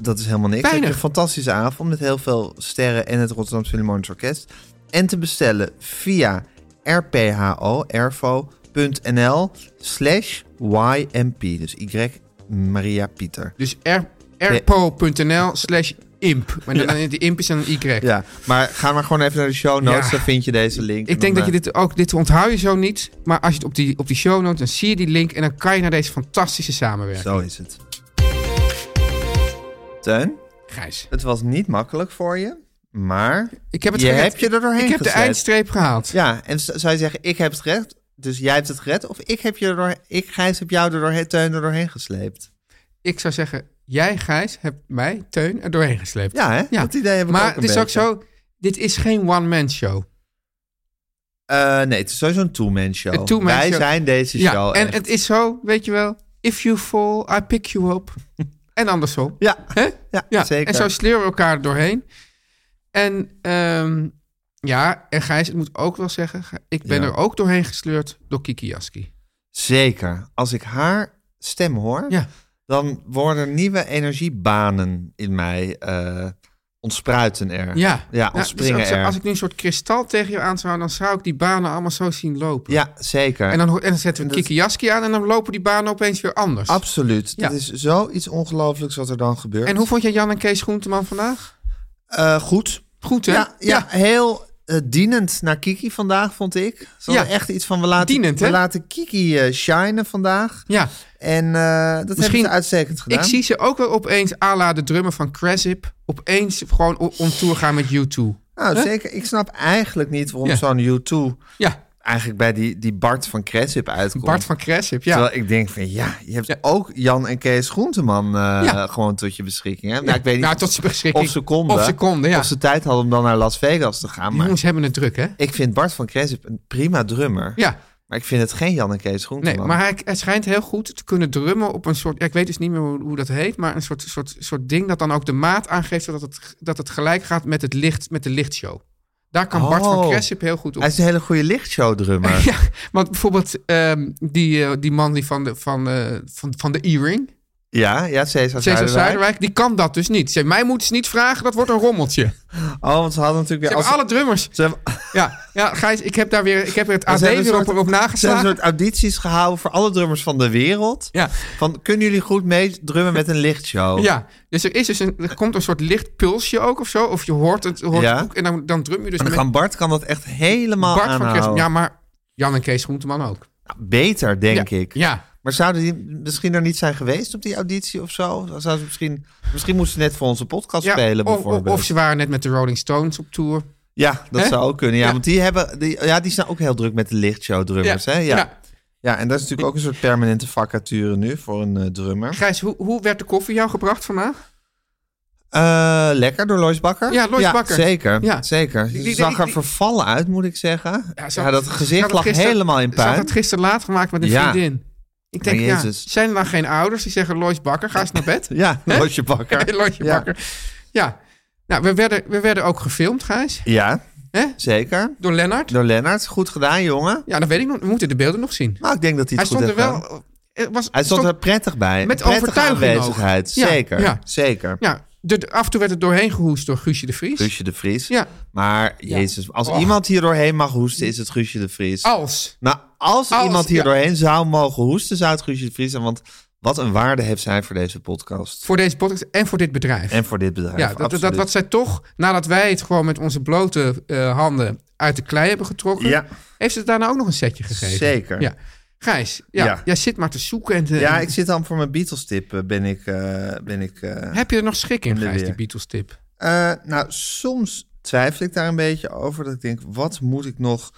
B: Dat is helemaal niks.
C: Weinig.
B: Dat is Een fantastische avond met heel veel sterren en het Rotterdam Philharmonisch Orkest. En te bestellen via rpho, rvo.nl slash ymp. Dus Y Maria Pieter.
C: Dus r- rpo.nl slash imp. Maar dan, dan- die imp is dan een y.
B: Ja, maar ga maar gewoon even naar de show notes,
C: Ja.
B: dan vind je deze link. eh,
C: Ik denk dat je dit ook, dit onthoud je zo niet. Maar als je het op die, op die show notes, dan zie je die link en dan kan je naar deze fantastische samenwerking.
B: Zo is het. Teun,
C: Gijs,
B: het was niet makkelijk voor je, maar...
C: ik heb het
B: Je
C: gered.
B: hebt je er doorheen
C: Ik heb de
B: gezet.
C: eindstreep gehaald.
B: Ja, en z- zou je zeggen, ik heb het recht, dus jij hebt het gered. Of ik heb je er doorheen, ik Gijs heb jou er doorheen, Teun er doorheen gesleept.
C: Ik zou zeggen, jij Gijs hebt mij, Teun, er doorheen gesleept.
B: Ja, hè? Dat idee heb ik
C: maar
B: ook een
C: het is
B: beetje.
C: ook zo, dit is geen one-man show.
B: Eh, nee, het is sowieso een two-man show.
C: Een two-man
B: Wij
C: show.
B: zijn deze
C: Ja,
B: show.
C: en
B: echt.
C: het is zo, weet je wel. If you fall, I pick you up. en andersom.
B: ja,
C: Hè?
B: ja,
C: Ja,
B: zeker.
C: en zo sleuren we elkaar er doorheen. En ehm, ja, en Gijs, het moet ook wel zeggen, Gij- ik ben
B: Ja.
C: er ook doorheen gesleurd door Kiki Jaski.
B: Zeker. Als ik haar stem hoor,
C: Ja.
B: dan worden er nieuwe energiebanen in mij eh, ontspruiten er.
C: Ja,
B: ja
C: dus
B: ontspringen
C: als,
B: er.
C: als ik nu een soort kristal tegen je aan zou houden, dan zou ik die banen allemaal zo zien lopen.
B: Ja, zeker.
C: En, dan, ho- en dan zetten we
B: En
C: een
B: dat-
C: Kikiaski aan en dan lopen die banen opeens weer anders.
B: Absoluut.
C: Ja.
B: Dat is zoiets ongelooflijks wat er dan gebeurt.
C: en hoe vond je Jan en Kees Groenteman vandaag?
B: Eh, goed.
C: Goed, hè?
B: Ja, ja, heel eh, dienend naar Kiki vandaag, vond ik. Ze
C: Ja.
B: hadden echt iets van, we laten,
C: Dienend, hè?
B: we laten Kiki eh shinen vandaag.
C: Ja.
B: En eh, dat
C: Misschien-
B: hebben ze uitstekend gedaan.
C: Ik zie ze ook wel opeens, à la de drummer van Crasip, opeens gewoon o- on tour gaan met U2.
B: Nou,
C: Hè?
B: zeker. Ik snap eigenlijk niet waarom
C: Ja.
B: zo'n U2
C: Ja,
B: eigenlijk bij die, die Bart van Kretsip uitkomt.
C: Bart van Crasip, ja.
B: Terwijl ik denk van, ja, je hebt
C: Ja.
B: ook Jan en Kees Groenteman eh,
C: Ja.
B: gewoon tot je beschikking. Hè? Nou, ik weet niet
C: nou,
B: of-
C: tot zijn beschikking.
B: of ze konden.
C: Of ze konden, ja.
B: of ze tijd hadden om dan naar Las Vegas te gaan.
C: Die
B: Maar
C: jongens hebben het druk, hè?
B: ik vind Bart van Kretsip een prima drummer.
C: Ja,
B: Maar ik vind het geen Jan en Kees Groenteman.
C: nee, maar hij, hij schijnt heel goed te kunnen drummen op een soort, ja, ik weet dus niet meer hoe, hoe dat heet, maar een soort, soort, soort ding dat dan ook de maat aangeeft, zodat het, dat het gelijk gaat met, het licht, met de lichtshow. Daar kan Bart van
B: Oh.
C: Cressip heel goed op.
B: Hij is een hele goede lichtshow-drummer.
C: Ja, want bijvoorbeeld ehm, die, eh, die man die van de, van, eh, van, van de E-ring,
B: ja, ja, Cesar,
C: Cesar
B: Zuiderwijk.
C: Zuiderwijk, die kan dat dus niet. Zeg, mij moeten ze niet vragen, dat wordt een rommeltje. Ze
B: Oh, want ze hadden natuurlijk weer...
C: hebben
B: Als,
C: alle drummers.
B: Ze hebben,
C: Ja, ja, Gijs, ik heb daar weer, ik heb er het AD
B: ze hebben
C: weer
B: een
C: op,
B: soort-
C: op
B: ze hebben een
C: nageslagen.
B: soort audities gehouden voor alle drummers van de wereld.
C: Ja,
B: Van, kunnen jullie goed meedrummen met een lichtshow?
C: Ja, dus er, is dus een, er komt een soort licht pulsje ook of zo. Of je hoort het, hoort
B: Ja.
C: het ook, en dan, dan drum je dus
B: En dan
C: met
B: kan Bart kan dat echt helemaal
C: Bart van
B: aanhouden.
C: Kerst. Ja, maar Jan en Kees Groenteman ook.
B: Beter, denk
C: ja,
B: ik.
C: Ja,
B: Maar zouden die misschien er niet zijn geweest op die auditie of zo? Zouden ze misschien, misschien moesten ze net voor onze podcast
C: ja.
B: spelen
C: of, of,
B: bijvoorbeeld.
C: of ze waren net met de Rolling Stones op tour.
B: Ja, dat
C: Hè?
B: zou ook kunnen. Ja,
C: Ja.
B: want die, hebben, die, ja, die staan ook heel druk met de lichtshow-drummers. hè? Ja. Ja. en dat is natuurlijk ook een soort permanente vacature nu voor een eh, drummer.
C: Gijs, hoe, hoe werd de koffie jou gebracht vandaag?
B: Eh, lekker door Lois Bakker.
C: Ja, Lois Bakker.
B: Zeker,
C: Ja.
B: zeker.
C: Die-
B: Ze
C: die-
B: zag
C: die-
B: er
C: die-
B: vervallen uit, moet ik zeggen. Ja, dat gezicht lag helemaal in
C: Ze had
B: puin.
C: het gisteren laat gemaakt met een
B: Ja.
C: vriendin. Ik denk,
B: Maar
C: ja,
B: Jezus.
C: zijn er dan geen ouders die zeggen... Lois Bakker, ga eens naar bed.
B: Ja,
C: Hè?
B: Loisje Bakker.
C: Loisje
B: Ja.
C: Bakker. Ja. Nou, we werden, we werden ook gefilmd, Gijs.
B: Ja,
C: Hè?
B: zeker.
C: Door Lennart.
B: Door Lennart. Goed gedaan, jongen.
C: Ja, dat weet ik nog. We moeten de beelden nog zien.
B: Maar ik denk dat hij
C: Hij
B: het goed
C: stond er
B: heeft gedaan.
C: wel. eh, Was,
B: Hij stond er prettig bij.
C: Met
B: prettige
C: overtuiging ook.
B: aanwezigheid.
C: Ja,
B: Zeker,
C: ja.
B: zeker.
C: Ja, de, de- af en toe werd het doorheen gehoest door Guusje de Vries.
B: Guusje de Vries.
C: Ja. Oh.
B: Maar jezus, als iemand hier doorheen mag hoesten, is het Guusje de Vries.
C: Als.
B: Nou, als,
C: Als,
B: iemand hier
C: ja.
B: doorheen zou mogen hoesten, zou het Guusje de Vries zijn. Want wat een waarde heeft zij voor deze podcast.
C: Voor deze podcast en voor dit bedrijf.
B: En voor dit bedrijf.
C: ja, dat, dat
B: absoluut.
C: wat zij toch, nadat wij het gewoon met onze blote eh, handen uit de klei hebben getrokken,
B: Ja.
C: heeft ze het daarna ook nog een setje gegeven.
B: Zeker.
C: Ja. Gijs, ja,
B: Ja.
C: jij zit maar te zoeken. En te-
B: ja, ik zit dan voor mijn Beatles-tip. eh, Ben ik. eh, ben ik eh,
C: Heb je er nog schik in,
B: de
C: Gijs, die
B: weer.
C: Beatles-tip?
B: Eh, nou, soms twijfel ik daar een beetje over. Dat ik denk, wat moet ik nog